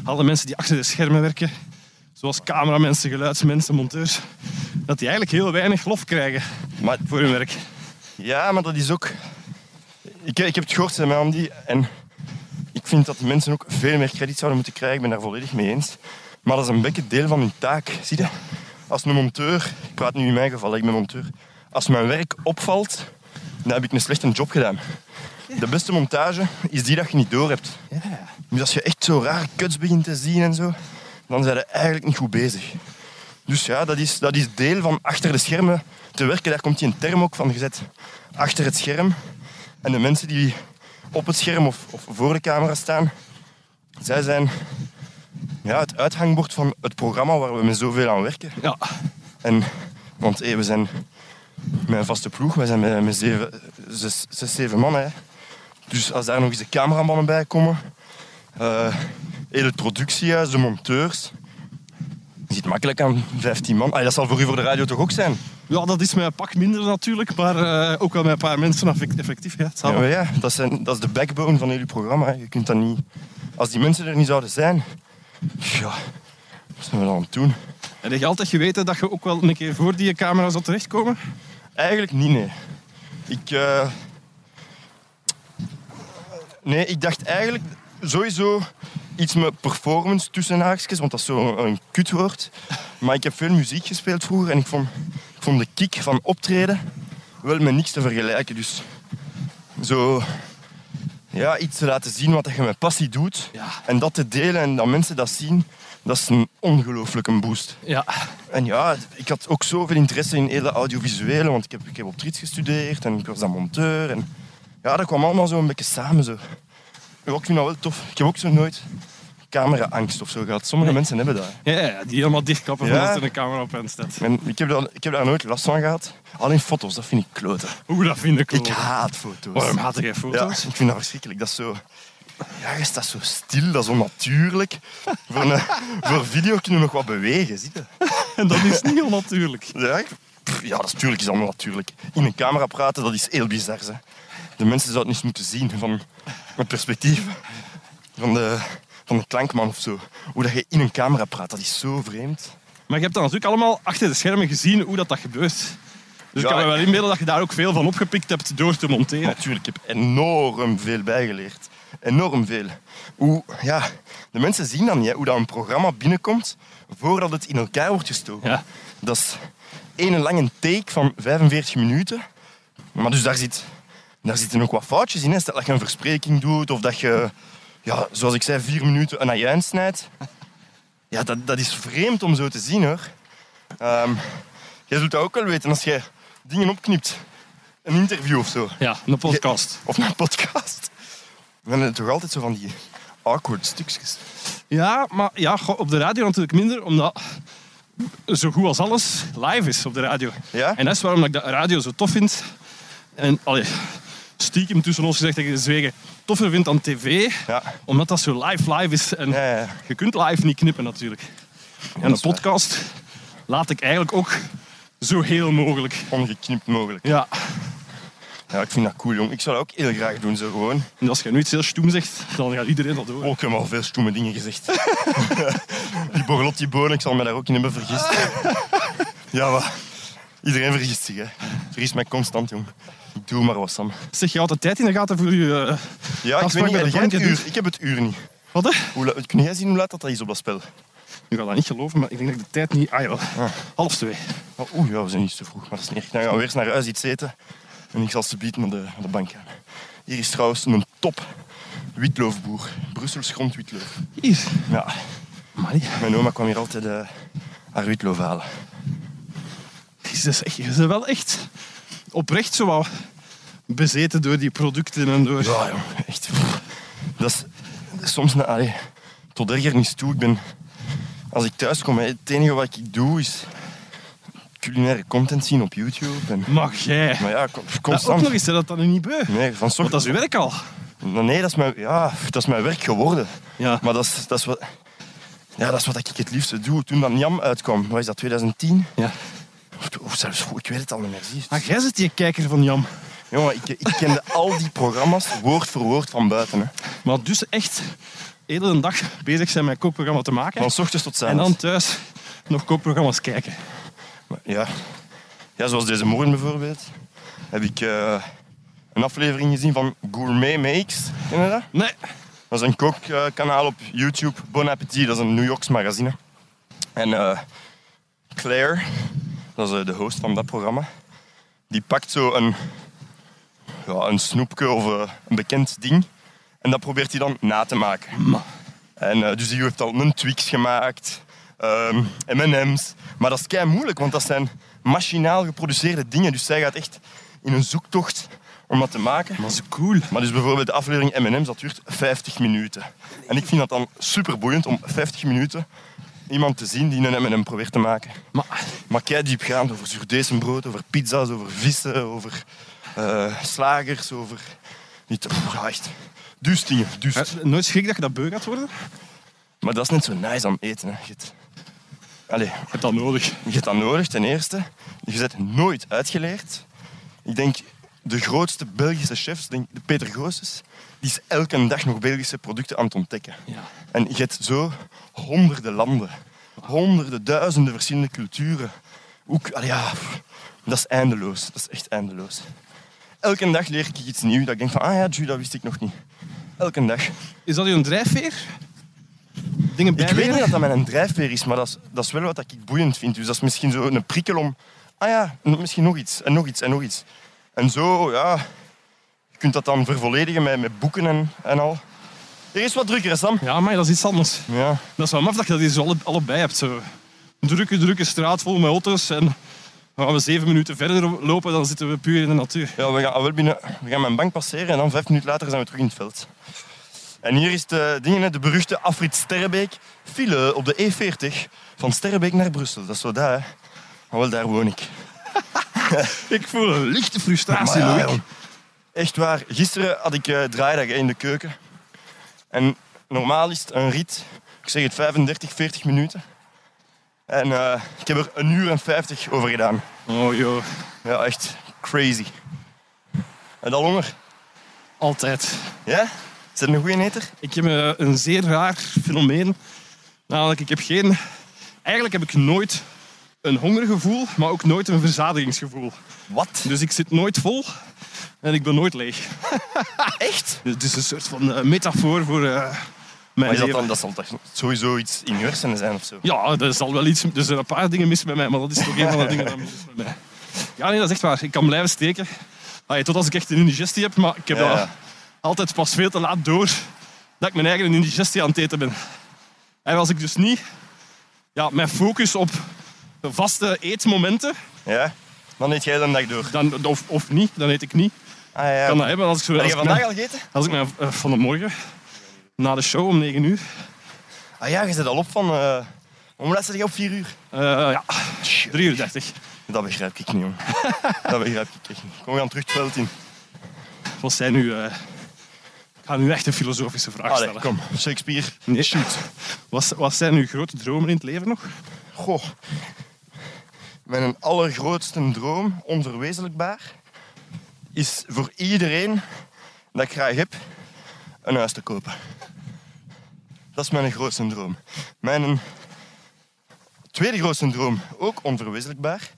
S3: alle mensen die achter de schermen werken, zoals cameramensen, geluidsmensen, monteurs, dat die eigenlijk heel weinig lof krijgen
S4: Maar
S3: voor hun werk.
S4: ja, maar dat is ook... Ik, ik heb het gehoord hè, met Andy en ik vind dat die mensen ook veel meer krediet zouden moeten krijgen. Ik ben daar volledig mee eens. Maar dat is een beetje deel van hun taak. Zie je? Als een monteur, ik praat nu in mijn geval, ik ben monteur. Als mijn werk opvalt, dan heb ik een slechte job gedaan. De beste montage is die dat je niet doorhebt. Dus als je echt zo raar kuts begint te zien en zo, dan zijn ze eigenlijk niet goed bezig. Dus ja, dat is, dat is deel van achter de schermen te werken. Daar komt die een term ook van gezet. Achter het scherm. En de mensen die op het scherm of, of voor de camera staan, zij zijn ja, het uithangbord van het programma waar we met zoveel aan werken.
S3: Ja,
S4: En, want hé, we zijn met een vaste ploeg, we zijn met, met zeven, zes, zes, zeven man. Hè. Dus als daar nog eens de cameramannen bij komen, eh heel het productiehuis, de monteurs. Je zit makkelijk aan 15 man. Ah, dat zal voor u voor de radio toch ook zijn?
S3: ja dat is met een pak minder natuurlijk, maar eh, ook wel met een paar mensen effect- effectief. Ja, het zal
S4: Ja,
S3: Ah, wel.
S4: maar ja dat, zijn, dat is de backbone van heel uw programma. hè. Je kunt dat niet... Als die mensen er niet zouden zijn... Ja, wat zijn we dan aan het doen?
S3: En heb je altijd geweten dat je ook wel een keer voor die camera zou terechtkomen?
S4: Eigenlijk niet, nee. Ik... eh, Nee, ik dacht eigenlijk sowieso iets met performance tussen haakjes, want dat is zo'n een kutwoord. Maar ik heb veel muziek gespeeld vroeger en ik vond, ik vond de kick van optreden wel met niks te vergelijken. Dus zo... Ja, iets te laten zien wat je met passie doet.
S3: Ja.
S4: En dat te delen en dat mensen dat zien, dat is een ongelooflijke boost.
S3: Ja,
S4: En ja, ik had ook zoveel interesse in hele audiovisuele, want ik heb, ik heb op Triet gestudeerd en ik was dan monteur. En ja, dat kwam allemaal zo een beetje samen. Zo. Ja, ik vind dat wel tof. Ik heb ook zo nooit cameraangst of zo gehad. Sommige mensen hebben dat.
S3: ja, ja die helemaal dichtklappen
S4: Ja.
S3: voordat er een camera op hen staat.
S4: En ik, heb daar, ik heb daar nooit last van gehad. Alleen foto's, dat vind ik kloten.
S3: Oeh, dat vind ik
S4: Ik
S3: wel.
S4: haat foto's.
S3: Waarom haat jij
S4: Ja,
S3: foto's?
S4: ik vind dat verschrikkelijk. Dat is zo... Ja, je staat zo stil, dat is onnatuurlijk. voor,
S3: (laughs)
S4: een, voor video kunnen we nog wat bewegen, zie je.
S3: En (laughs) dat is niet onnatuurlijk.
S4: Ja, ik- pff, ja dat is natuurlijk is allemaal natuurlijk. In een camera praten, dat is heel bizar. Hè. De mensen zouden het eens moeten zien van het perspectief van de, van de klankman of zo. Hoe dat je in een camera praat, dat is zo vreemd.
S3: Maar je hebt dan natuurlijk allemaal achter de schermen gezien hoe dat, dat gebeurt. Dus
S4: Ja,
S3: ik kan me
S4: ik-
S3: wel inbeelden dat je daar ook veel van opgepikt hebt door te monteren.
S4: Natuurlijk, ik heb enorm veel bijgeleerd. Enorm veel. Hoe, ja, de mensen zien dan niet hè, hoe dat een programma binnenkomt voordat het in elkaar wordt gestoken.
S3: Ja.
S4: Dat is één lange take van 45 minuten. Maar dus daar, zit, daar zitten ook wat foutjes in. Hè. Stel dat je een verspreking doet of dat je, ja, zoals ik zei, vier minuten een ajuin snijdt. Ja, dat, dat is vreemd om zo te zien hoor. Ehm, jij zult dat ook wel weten als jij dingen opknipt. Een interview of zo.
S3: Ja, een podcast.
S4: Of een podcast. We hebben toch altijd zo van die awkward stukjes.
S3: Ja, maar ja, goh, op de radio natuurlijk minder, omdat zo goed als alles live is op de radio.
S4: Ja?
S3: En dat is waarom ik de radio zo tof vind. En allee, stiekem tussen ons gezegd dat ik de zwegen toffer vind dan tv,
S4: Ja.
S3: omdat dat zo live live is. En
S4: Ja, ja, ja.
S3: je kunt live niet knippen natuurlijk. En
S4: dat
S3: een
S4: is waar.
S3: podcast laat ik eigenlijk ook zo heel mogelijk.
S4: Ongeknipt mogelijk.
S3: Ja,
S4: Ja, ik vind dat cool, jong. Ik zou dat ook heel graag doen, zo gewoon.
S3: En als je nu iets heel stoem zegt, dan gaat iedereen dat horen.
S4: Oh, ik heb al veel stoeme dingen gezegd. (laughs) die Borlotti Bonen, ik zal me daar ook in hebben vergist. ja, maar iedereen vergist zich, hè. Vergis mij constant, jong. Ik doe maar wat, Sam.
S3: Zeg je altijd tijd in de gaten voor je. eh,
S4: Ja, ik
S3: Afspraak
S4: weet
S3: met
S4: niet, heb
S3: de
S4: jij
S3: bank,
S4: het
S3: hè,
S4: uur?
S3: dus?
S4: Ik heb het uur niet.
S3: Wat hè?
S4: Hoe, la- kun jij zien hoe laat dat dat is op dat spel?
S3: Nu ga dat niet geloven, maar ik denk dat ik de tijd niet... Ah jawel, half twee.
S4: Oh, Oeh, ja, we zijn iets te vroeg, maar dat is niet erg. Dan gaan we eerst naar huis iets eten. En ik zal ze bieden naar de, naar de bank gaan. Hier is trouwens een top witloofboer. Brussels grondwitloof.
S3: Hier.
S4: Ja,
S3: Maar die
S4: mijn oma kwam hier altijd eh, haar witloof halen.
S3: is dus echt, is wel echt oprecht zo wat bezeten door die producten en door...
S4: Ja, jong, echt. Dat is, dat is soms... Een, allee, tot ergernis toe. Ik ben... Als ik thuis kom, hè, het enige wat ik doe is culinaire content zien op YouTube. En,
S3: Mag jij?
S4: maar ja, con-
S3: Dat ook
S4: constant.
S3: nog eens, hè, dat dat nu niet beu.
S4: Nee, van soort...
S3: Want dat is uw werk al.
S4: Nee, dat is mijn, ja, dat is mijn werk geworden.
S3: Ja.
S4: Maar dat is, dat is wat... Ja, dat is wat ik het liefste doe. Toen dat Jam uitkwam, wat is dat, 2010?
S3: ja.
S4: Of, of zelfs, goed, ik weet het al niet meer. Zie je het?
S3: Maar jij zit die kijker van Jam.
S4: Jongen, ik, ik kende al die programma's woord voor woord van buiten. Hè.
S3: Maar dus echt hele een dag bezig zijn met een kookprogramma te maken.
S4: Van s ochtends tot
S3: En
S4: s'avonds.
S3: dan thuis nog kookprogramma's kijken.
S4: Ja. ja, zoals deze morgen bijvoorbeeld, heb ik eh, een aflevering gezien van Gourmet Makes. Ken je dat?
S3: Nee.
S4: Dat is een kookkanaal op YouTube. Bon Appetit, dat is een New Yorks magazine. En eh, Claire, dat is eh, de host van dat programma, die pakt zo een, ja, een snoepje of eh, een bekend ding. En dat probeert hij dan na te maken. En eh, dus die heeft al een Twix gemaakt, ehm, M&M's. Maar dat is kei moeilijk, want dat zijn machinaal geproduceerde dingen. Dus zij gaat echt in een zoektocht om dat te maken.
S3: Dat is cool.
S4: Maar dus bijvoorbeeld de aflevering M&M's, dat duurt 50 minuten. En ik vind dat dan superboeiend om 50 minuten iemand te zien die een M&M probeert te maken.
S3: Maar
S4: Maar kei diepgaand over surdezenbrood, over pizza's, over vissen, over eh, slagers, over... Niet, pff, echt. Duust dingen,
S3: eh,
S4: duust.
S3: nooit schrik dat je dat beu gaat worden?
S4: Maar dat is net zo nice aan eten. Hè. Je hebt- Allee,
S3: Je hebt dat nodig.
S4: Je hebt dat nodig, ten eerste. Je bent nooit uitgeleerd. Ik denk, de grootste Belgische chefs, denk, de Peter Goossens, die is elke dag nog Belgische producten aan het ontdekken.
S3: Ja.
S4: En je hebt zo honderden landen, honderden, duizenden verschillende culturen. Ook, allee, ja, pff, dat is eindeloos. Dat is echt eindeloos. Elke dag leer ik iets nieuws. Dat ik denk van, ah ja, Ju, dat wist ik nog niet. Elke dag.
S3: Is dat een drijfveer? Dingen
S4: Ik weet
S3: bijleren?
S4: niet dat dat mijn drijfveer is, maar dat is, dat is wel wat ik boeiend vind. Dus dat is misschien zo een prikkel om... Ah ja, n- misschien nog iets, en nog iets, en nog iets. En zo, ja... Je kunt dat dan vervolledigen met, met boeken en, en al. Er is wat drukker, hè, Sam.
S3: Ja, maar dat is iets anders.
S4: Ja.
S3: Dat is wel maf dat je dat hier zo alle- allebei hebt. Zo. Drukke, drukke straat vol met auto's. En gaan we zeven minuten verder lopen, dan zitten we puur in de natuur.
S4: ja we, gaan ah, wel binnen, we gaan mijn bank passeren en dan vijf minuten later zijn we terug in het veld. En hier is de, dingen, hè, de beruchte Afrit Sterrebeek. File op de E40 van Sterrebeek naar Brussel. Dat is zo daar, hè. Maar wel, daar woon ik.
S3: Ik voel een lichte frustratie,
S4: Maar ja,
S3: Loïc.
S4: jong. Echt waar. Gisteren had ik eh draaidag hè, in de keuken. En normaal is het een rit, ik zeg het 35, 40 minuten. En eh, ik heb er een uur en 50 over gedaan.
S3: Oh joh,
S4: Ja, echt crazy. En al honger.
S3: altijd.
S4: Ja? Is dat een goede eter?
S3: Ik heb eh, een zeer raar fenomeen. Namelijk, ik heb geen... Eigenlijk heb ik nooit een hongergevoel, maar ook nooit een verzadigingsgevoel.
S4: Wat?
S3: Dus ik zit nooit vol en ik ben nooit leeg.
S4: (laughs) Echt?
S3: Dus het is een soort van eh, metafoor voor eh, mijn
S4: Maar is dat,
S3: leven.
S4: dan, dat zal toch sowieso iets in je hersenen zijn of zo?
S3: Ja, er, zal wel iets, er zijn een paar dingen mis met mij, maar dat is toch een van de dingen die mis is met mij. Ja, nee, dat is echt waar. Ik kan blijven steken. Allee, tot als ik echt een indigestie heb, maar ik heb
S4: Ja,
S3: dat
S4: ja.
S3: altijd pas veel te laat door dat ik mijn eigen indigestie aan het eten ben. En als ik dus niet ja, mijn focus op vaste eetmomenten,
S4: Ja? Dan eet jij de dag door.
S3: dan, of, of niet, dan eet ik niet.
S4: Ah ja.
S3: Kan dat hebben als ik, zo,
S4: Heb
S3: als
S4: je
S3: ik, mijn,
S4: vandaag al gegeten?
S3: als ik mijn, eh, van de morgen na de show om 9 uur,
S4: Ah ja, je zit al op van... eh, Hoe laat zit je op 4 uur?
S3: eh, ja, 3 uur 30.
S4: Dat begrijp ik niet, jong. Dat begrijp ik echt niet. Kom, we gaan terug het veld in.
S3: Wat zijn nu? eh, ik ga nu echt een filosofische vraag
S4: Allee,
S3: stellen.
S4: kom. Shakespeare.
S3: Nee. Wat, wat zijn uw grote dromen in het leven nog?
S4: Goh. Mijn allergrootste droom, onverwezenlijkbaar, is voor iedereen dat ik graag heb, een huis te kopen. Dat is mijn grootste droom. Mijn tweede grootste droom, ook onverwezenlijkbaar,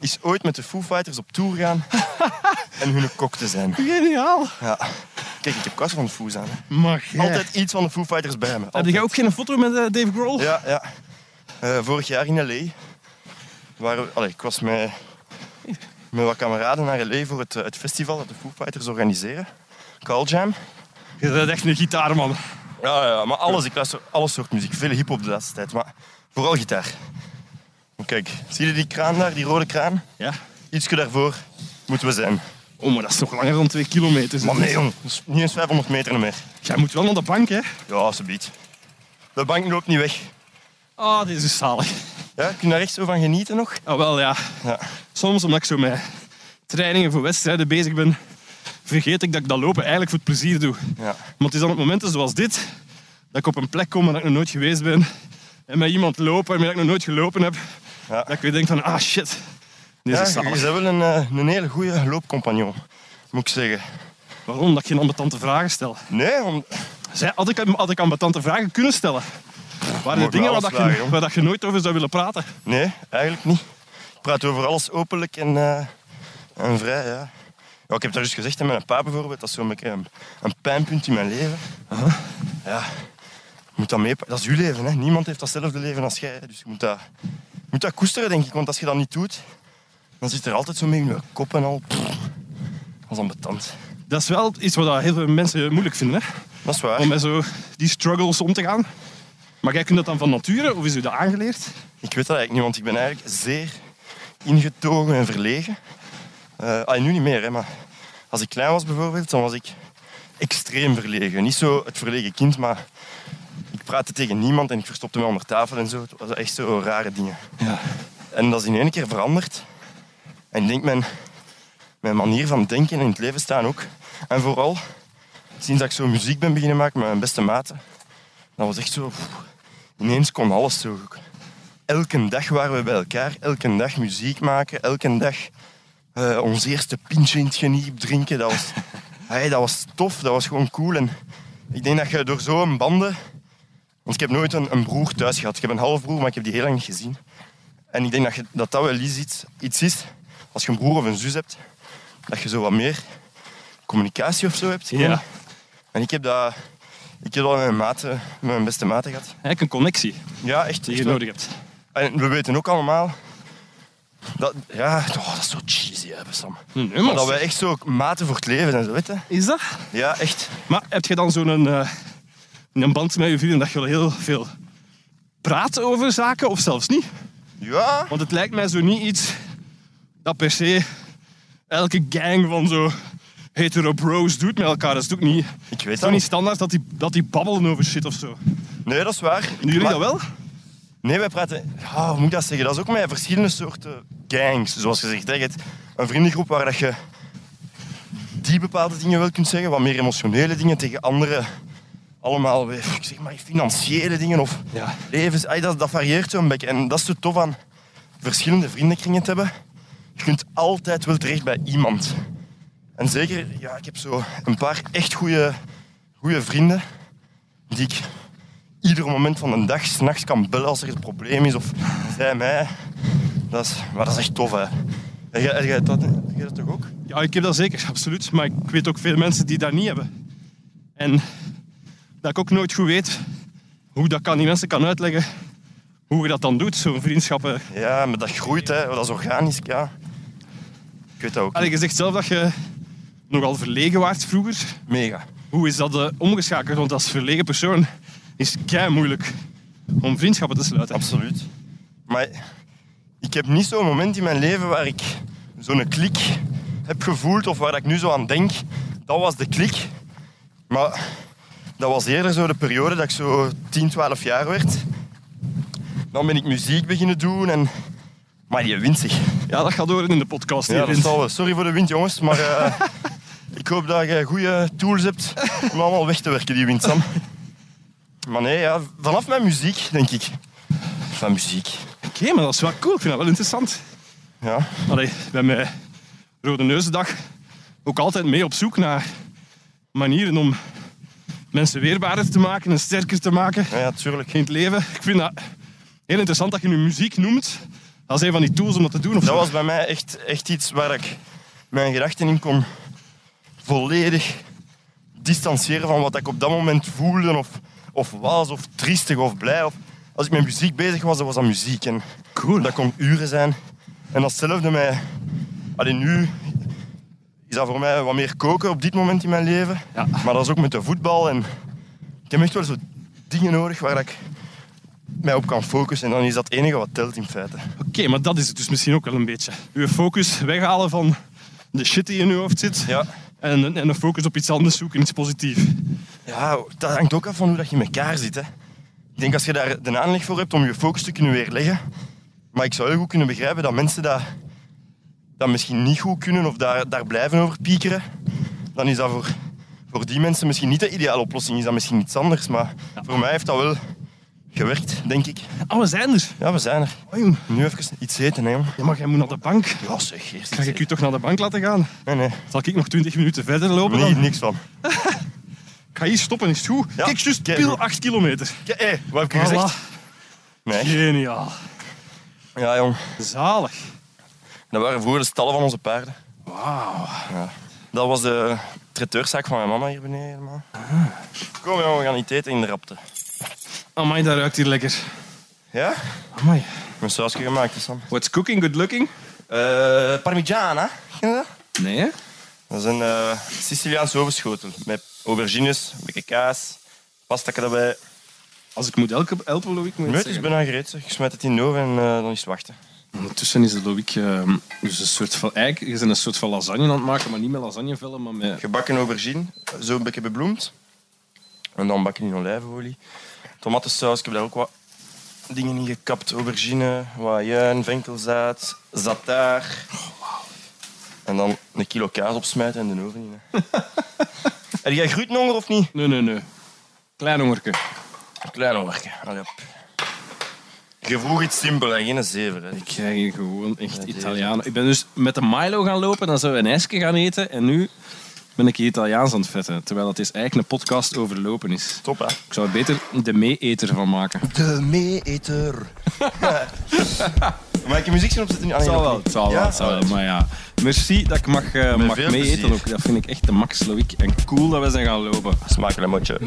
S4: is ooit met de Foo Fighters op tour gaan en hun kok te zijn.
S3: Geniaal!
S4: Ja. Ik Kijk, ik heb kast van de Foo's aan. hè.
S3: Mag jij?
S4: Altijd iets van de Foo Fighters bij me.
S3: Heb
S4: Altijd.
S3: jij ook geen foto met eh, Dave Grohl?
S4: Ja, ja. Eh, vorig jaar in L.A. Waren we, allee, ik was met, met wat kameraden naar L.A. voor het, eh, het festival dat de Foo Fighters organiseren. Call Jam.
S3: Je bent echt een gitaarman.
S4: Ja, ja, maar alles. Ik luister alle soort muziek. Veel hiphop de laatste tijd, maar vooral gitaar. Maar Kijk, zie je die kraan daar, die rode kraan?
S3: Ja.
S4: Ietsje daarvoor moeten we zijn.
S3: Oh, maar dat is nog langer dan twee kilometer.
S4: Maar nee, jong. Dat is niet eens 500 meter meer.
S3: Jij moet wel naar de bank, hè?
S4: Ja, alsjeblieft. De bank loopt niet weg.
S3: Ah, dit is zalig.
S4: Ja, kun je daar echt zo van genieten nog?
S3: Ah, wel ja.
S4: Ja.
S3: Soms, omdat ik zo met trainingen voor wedstrijden bezig ben, vergeet ik dat ik dat lopen eigenlijk voor het plezier doe.
S4: Ja.
S3: Maar het is dan op momenten zoals dit, dat ik op een plek kom waar ik nog nooit geweest ben, en met iemand loop waarmee ik nog nooit gelopen heb,
S4: Ja.
S3: dat ik weer denk van, ah shit, dit
S4: Ja,
S3: is
S4: je bent
S3: zalig.
S4: wel een, eh, een hele goede loopcompagnon, moet ik zeggen.
S3: Waarom? Dat ik geen ambetante vragen stel.
S4: Nee, om...
S3: Zij, had, ik, had ik ambetante vragen kunnen stellen? Waren
S4: wel
S3: er dingen waar,
S4: alles
S3: dat
S4: vragen,
S3: je,
S4: jong.
S3: waar dat je nooit over zou willen praten?
S4: nee, eigenlijk niet. Ik praat over alles openlijk en, eh, en vrij, ja. ja. Ik heb dat dus gezegd aan mijn pa bijvoorbeeld, dat is zo'n beetje een, een pijnpunt in mijn leven. Ja, je moet dat mee... Dat is uw leven, hè. Niemand heeft datzelfde leven als jij, dus je moet dat, je moet dat koesteren, denk ik. Want als je dat niet doet, dan zit er altijd zo mee in je kop en al... Pff, dat is ambetant.
S3: Dat is wel iets wat dat heel veel mensen moeilijk vinden, hè?
S4: Dat is waar.
S3: om met zo die struggles om te gaan. Maar jij kunt dat dan van nature, of is u dat aangeleerd?
S4: Ik weet dat eigenlijk niet, want ik ben eigenlijk zeer ingetogen en verlegen. Eh allee, nu niet meer, hè, maar als ik klein was bijvoorbeeld, dan was ik extreem verlegen. Niet zo het verlegen kind, maar ik praatte tegen niemand en ik verstopte me onder tafel en zo. Het was echt zo rare dingen.
S3: Ja.
S4: En dat is in één keer veranderd. En ik denk mijn, mijn manier van denken en in het leven staan ook. En vooral sinds dat ik zo muziek ben beginnen maken met mijn beste maten, dat was echt zo. pff, ineens kon alles zo. Elke dag waren we bij elkaar, elke dag muziek maken, elke dag eh, ons eerste pintje in het geniep drinken. Dat was, (laughs) hey, dat was tof, dat was gewoon cool. En ik denk dat je door zo'n banden. Want ik heb nooit een, een broer thuis gehad. Ik heb een halfbroer, maar ik heb die heel lang niet gezien. En ik denk dat je, dat, dat wel iets, iets- iets is, als je een broer of een zus hebt, dat je zo wat meer communicatie of zo hebt.
S3: Ja.
S4: En ik heb dat, ik heb dat met, mijn maten, met mijn beste maten gehad.
S3: Eigenlijk een connectie
S4: Ja, echt.
S3: die
S4: echt
S3: je
S4: wel.
S3: nodig hebt.
S4: En we weten ook allemaal... Dat, ja, oh, dat is zo cheesy, hè, Sam.
S3: Nee, maar
S4: Maar dat
S3: zeg,
S4: wij echt zo maten voor het leven zijn, zo, weet je?
S3: Is dat?
S4: Ja, echt.
S3: Maar heb je dan zo'n eh, een band met je vrienden dat je wel heel veel praat over zaken, of zelfs niet?
S4: Ja.
S3: Want het lijkt mij zo niet iets dat per se elke gang van zo hetero bros doet met elkaar. Dat is toch niet,
S4: Ik weet
S3: toch
S4: dat
S3: niet
S4: niet.
S3: standaard dat die, dat die babbelen over shit of zo.
S4: Nee, dat is waar.
S3: Doen jullie
S4: Maar-
S3: dat wel?
S4: Nee, wij praten... Ja, hoe moet ik dat zeggen? Dat is ook met verschillende soorten gangs, zoals gezegd. Hè. Je hebt een vriendengroep waar dat je die bepaalde dingen wel kunt zeggen, wat meer emotionele dingen tegen anderen. Allemaal, weer, ik zeg maar, financiële dingen of
S3: Ja.
S4: levens... Ay, dat, dat varieert zo'n beetje. En dat is zo tof aan verschillende vriendenkringen te hebben. Je kunt altijd wel terecht bij iemand. En zeker, ja, ik heb zo een paar echt goede vrienden die ik ieder moment van de dag, s'nachts kan bellen als er een probleem is of zij mij. Dat is, maar dat is echt tof, hè. Heb jij- heb jij dat, heb jij dat toch ook?
S3: Ja, ik heb dat zeker, (laughs) absoluut. Maar ik weet ook veel mensen die dat niet hebben. En dat ik ook nooit goed weet hoe dat kan, die mensen kan uitleggen hoe je dat dan doet, zo'n vriendschappen.
S4: Ja, maar dat groeit, hè. Dat is organisch, ja. Ik weet dat ook.
S3: Allee, je zegt zelf dat je nogal verlegen waart vroeger.
S4: Mega.
S3: Hoe is dat eh, omgeschakeld? Want als verlegen persoon is het kei moeilijk om vriendschappen te sluiten.
S4: Absoluut. Maar ik heb niet zo'n moment in mijn leven waar ik zo'n klik heb gevoeld of waar ik nu zo aan denk. Dat was de klik. Maar dat was eerder zo de periode dat ik zo 10, 12 jaar werd. Dan ben ik muziek beginnen doen en... Maar je wint zich.
S3: Ja, dat gaat door in de podcast.
S4: Ja,
S3: hier.
S4: dat zal wel. Sorry voor de wind, jongens. Maar eh, ik hoop dat je goede tools hebt om allemaal weg te werken, die wind, Sam. Maar nee, ja, vanaf mijn muziek, denk ik. Van muziek.
S3: Oké, maar dat is wel cool. Ik vind dat wel interessant.
S4: Ja,
S3: Allee, bij mijn Rode Neuzendag ook altijd mee op zoek naar manieren om mensen weerbaarder te maken en sterker te maken
S4: ja, ja, tuurlijk.
S3: in het leven. Ik vind dat heel interessant dat je nu muziek noemt als een van die tools om dat te doen. Of
S4: Dat
S3: zo.
S4: was bij mij echt, echt iets waar ik mijn gedachten in kon volledig distancieren van wat ik op dat moment voelde of, of was, of triestig of blij. Of, als ik met muziek bezig was, dan was dat muziek. En
S3: Cool.
S4: dat kon uren zijn. En datzelfde met... Alleen nu is dat voor mij wat meer koken op dit moment in mijn leven.
S3: Ja.
S4: Maar dat is ook met de voetbal. En ik heb echt wel zo dingen nodig waar ik mij op kan focussen. En dan is dat het enige wat telt in feite.
S3: Oké, maar dat is het dus misschien ook wel een beetje. Uw focus weghalen van de shit die in uw hoofd zit.
S4: Ja.
S3: En, en een focus op iets anders zoeken, iets positiefs.
S4: Ja, dat hangt ook af van hoe dat je in elkaar zit. Hè. Ik denk als je daar de aanleg voor hebt om je focus te kunnen weerleggen. Maar ik zou heel goed kunnen begrijpen dat mensen dat, dat misschien niet goed kunnen of daar, daar blijven over piekeren. Dan is dat voor, voor die mensen misschien niet de ideale oplossing. Is dat misschien iets anders. Maar voor mij heeft dat wel gewerkt, denk ik.
S3: Oh, we zijn er.
S4: Ja, we zijn er.
S3: Oh, jong.
S4: Nu even iets eten, hè, jong.
S3: Ja, maar jij moet naar de bank.
S4: Ja, zeg, eerst
S3: Ga
S4: iets
S3: ik
S4: eten.
S3: u toch naar de bank laten gaan?
S4: Nee, nee.
S3: Zal ik nog 20 minuten verder lopen?
S4: Nee,
S3: Dan?
S4: niks van.
S3: Ik ga hier stoppen, is het goed?
S4: Ja,
S3: Kijk, juist
S4: keigoed.
S3: pil 8 kilometer.
S4: Hé, eh, wat heb ik gezegd?
S3: Voilà.
S4: Nee.
S3: Geniaal.
S4: Ja, jong.
S3: Zalig.
S4: Dat waren vroeger de stallen van onze paarden.
S3: Wauw.
S4: Dat was de traiteurzaak van mijn mama hier beneden. helemaal. Kom jongen, we gaan niet eten in de rapte.
S3: Amai, dat ruikt hier lekker.
S4: Ja?
S3: Amai.
S4: Mijn sausje gemaakt, hè, Sam.
S3: What's cooking, good looking?
S4: Eh Parmigiana. Ken je dat?
S3: Nee, hè?
S4: Dat is een eh, Siciliaanse ovenschotel. Met aubergines, een beetje kaas, pasta erbij.
S3: Als ik moet helpen, helpen Loïc, moet je het
S4: Het is
S3: zeggen.
S4: bijna gereed. zeg. Ik smijt het in de oven en eh, dan is het wachten.
S3: Ondertussen is de Loïc ehm, dus een soort van... Eigenlijk is hij een soort van lasagne aan het maken, maar niet met lasagnevellen, maar met...
S4: Gebakken aubergine, zo een beetje bebloemd. En dan bakken in olijfolie. Tomatensaus, ik heb daar ook wat dingen in gekapt. Aubergine, wat juin, venkelzaad, zataar. En dan een kilo kaas opsmijten en de oven in.
S3: (laughs)
S4: hè. Heb jij groetnonger of niet?
S3: Nee, nee, nee. Klein hongerke.
S4: Klein werken. Allee, op. Je vroeg iets simpel en geen zever. Hè.
S3: Ik krijg hier gewoon echt Italiaan. Ik ben dus met de Milo gaan lopen, dan zijn we een ijsje gaan eten. En nu ben ik hier Italiaans aan het vetten. Terwijl het is eigenlijk een podcast over lopen is.
S4: Top, hè?
S3: Ik zou er beter de meeeter van maken.
S4: De meeeter. Mag ik je muziek zien opzetten? Ah,
S3: Het zal
S4: nee, nog
S3: wel,
S4: niet.
S3: het zal wel,
S4: Ja?
S3: het zal wel. Maar ja, merci dat ik mag, eh, mag
S4: veel
S3: meeeten.
S4: plezier.
S3: ook. Dat vind ik echt de max, Loïc. En cool dat we zijn gaan lopen.
S4: Smakelijk motje.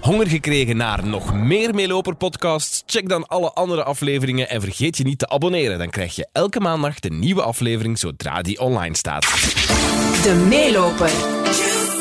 S2: Honger gekregen naar nog meer Meeloper-podcasts? Check dan alle andere afleveringen en vergeet je niet te abonneren. Dan krijg je elke maandag de nieuwe aflevering zodra die online staat.
S1: De meeloper.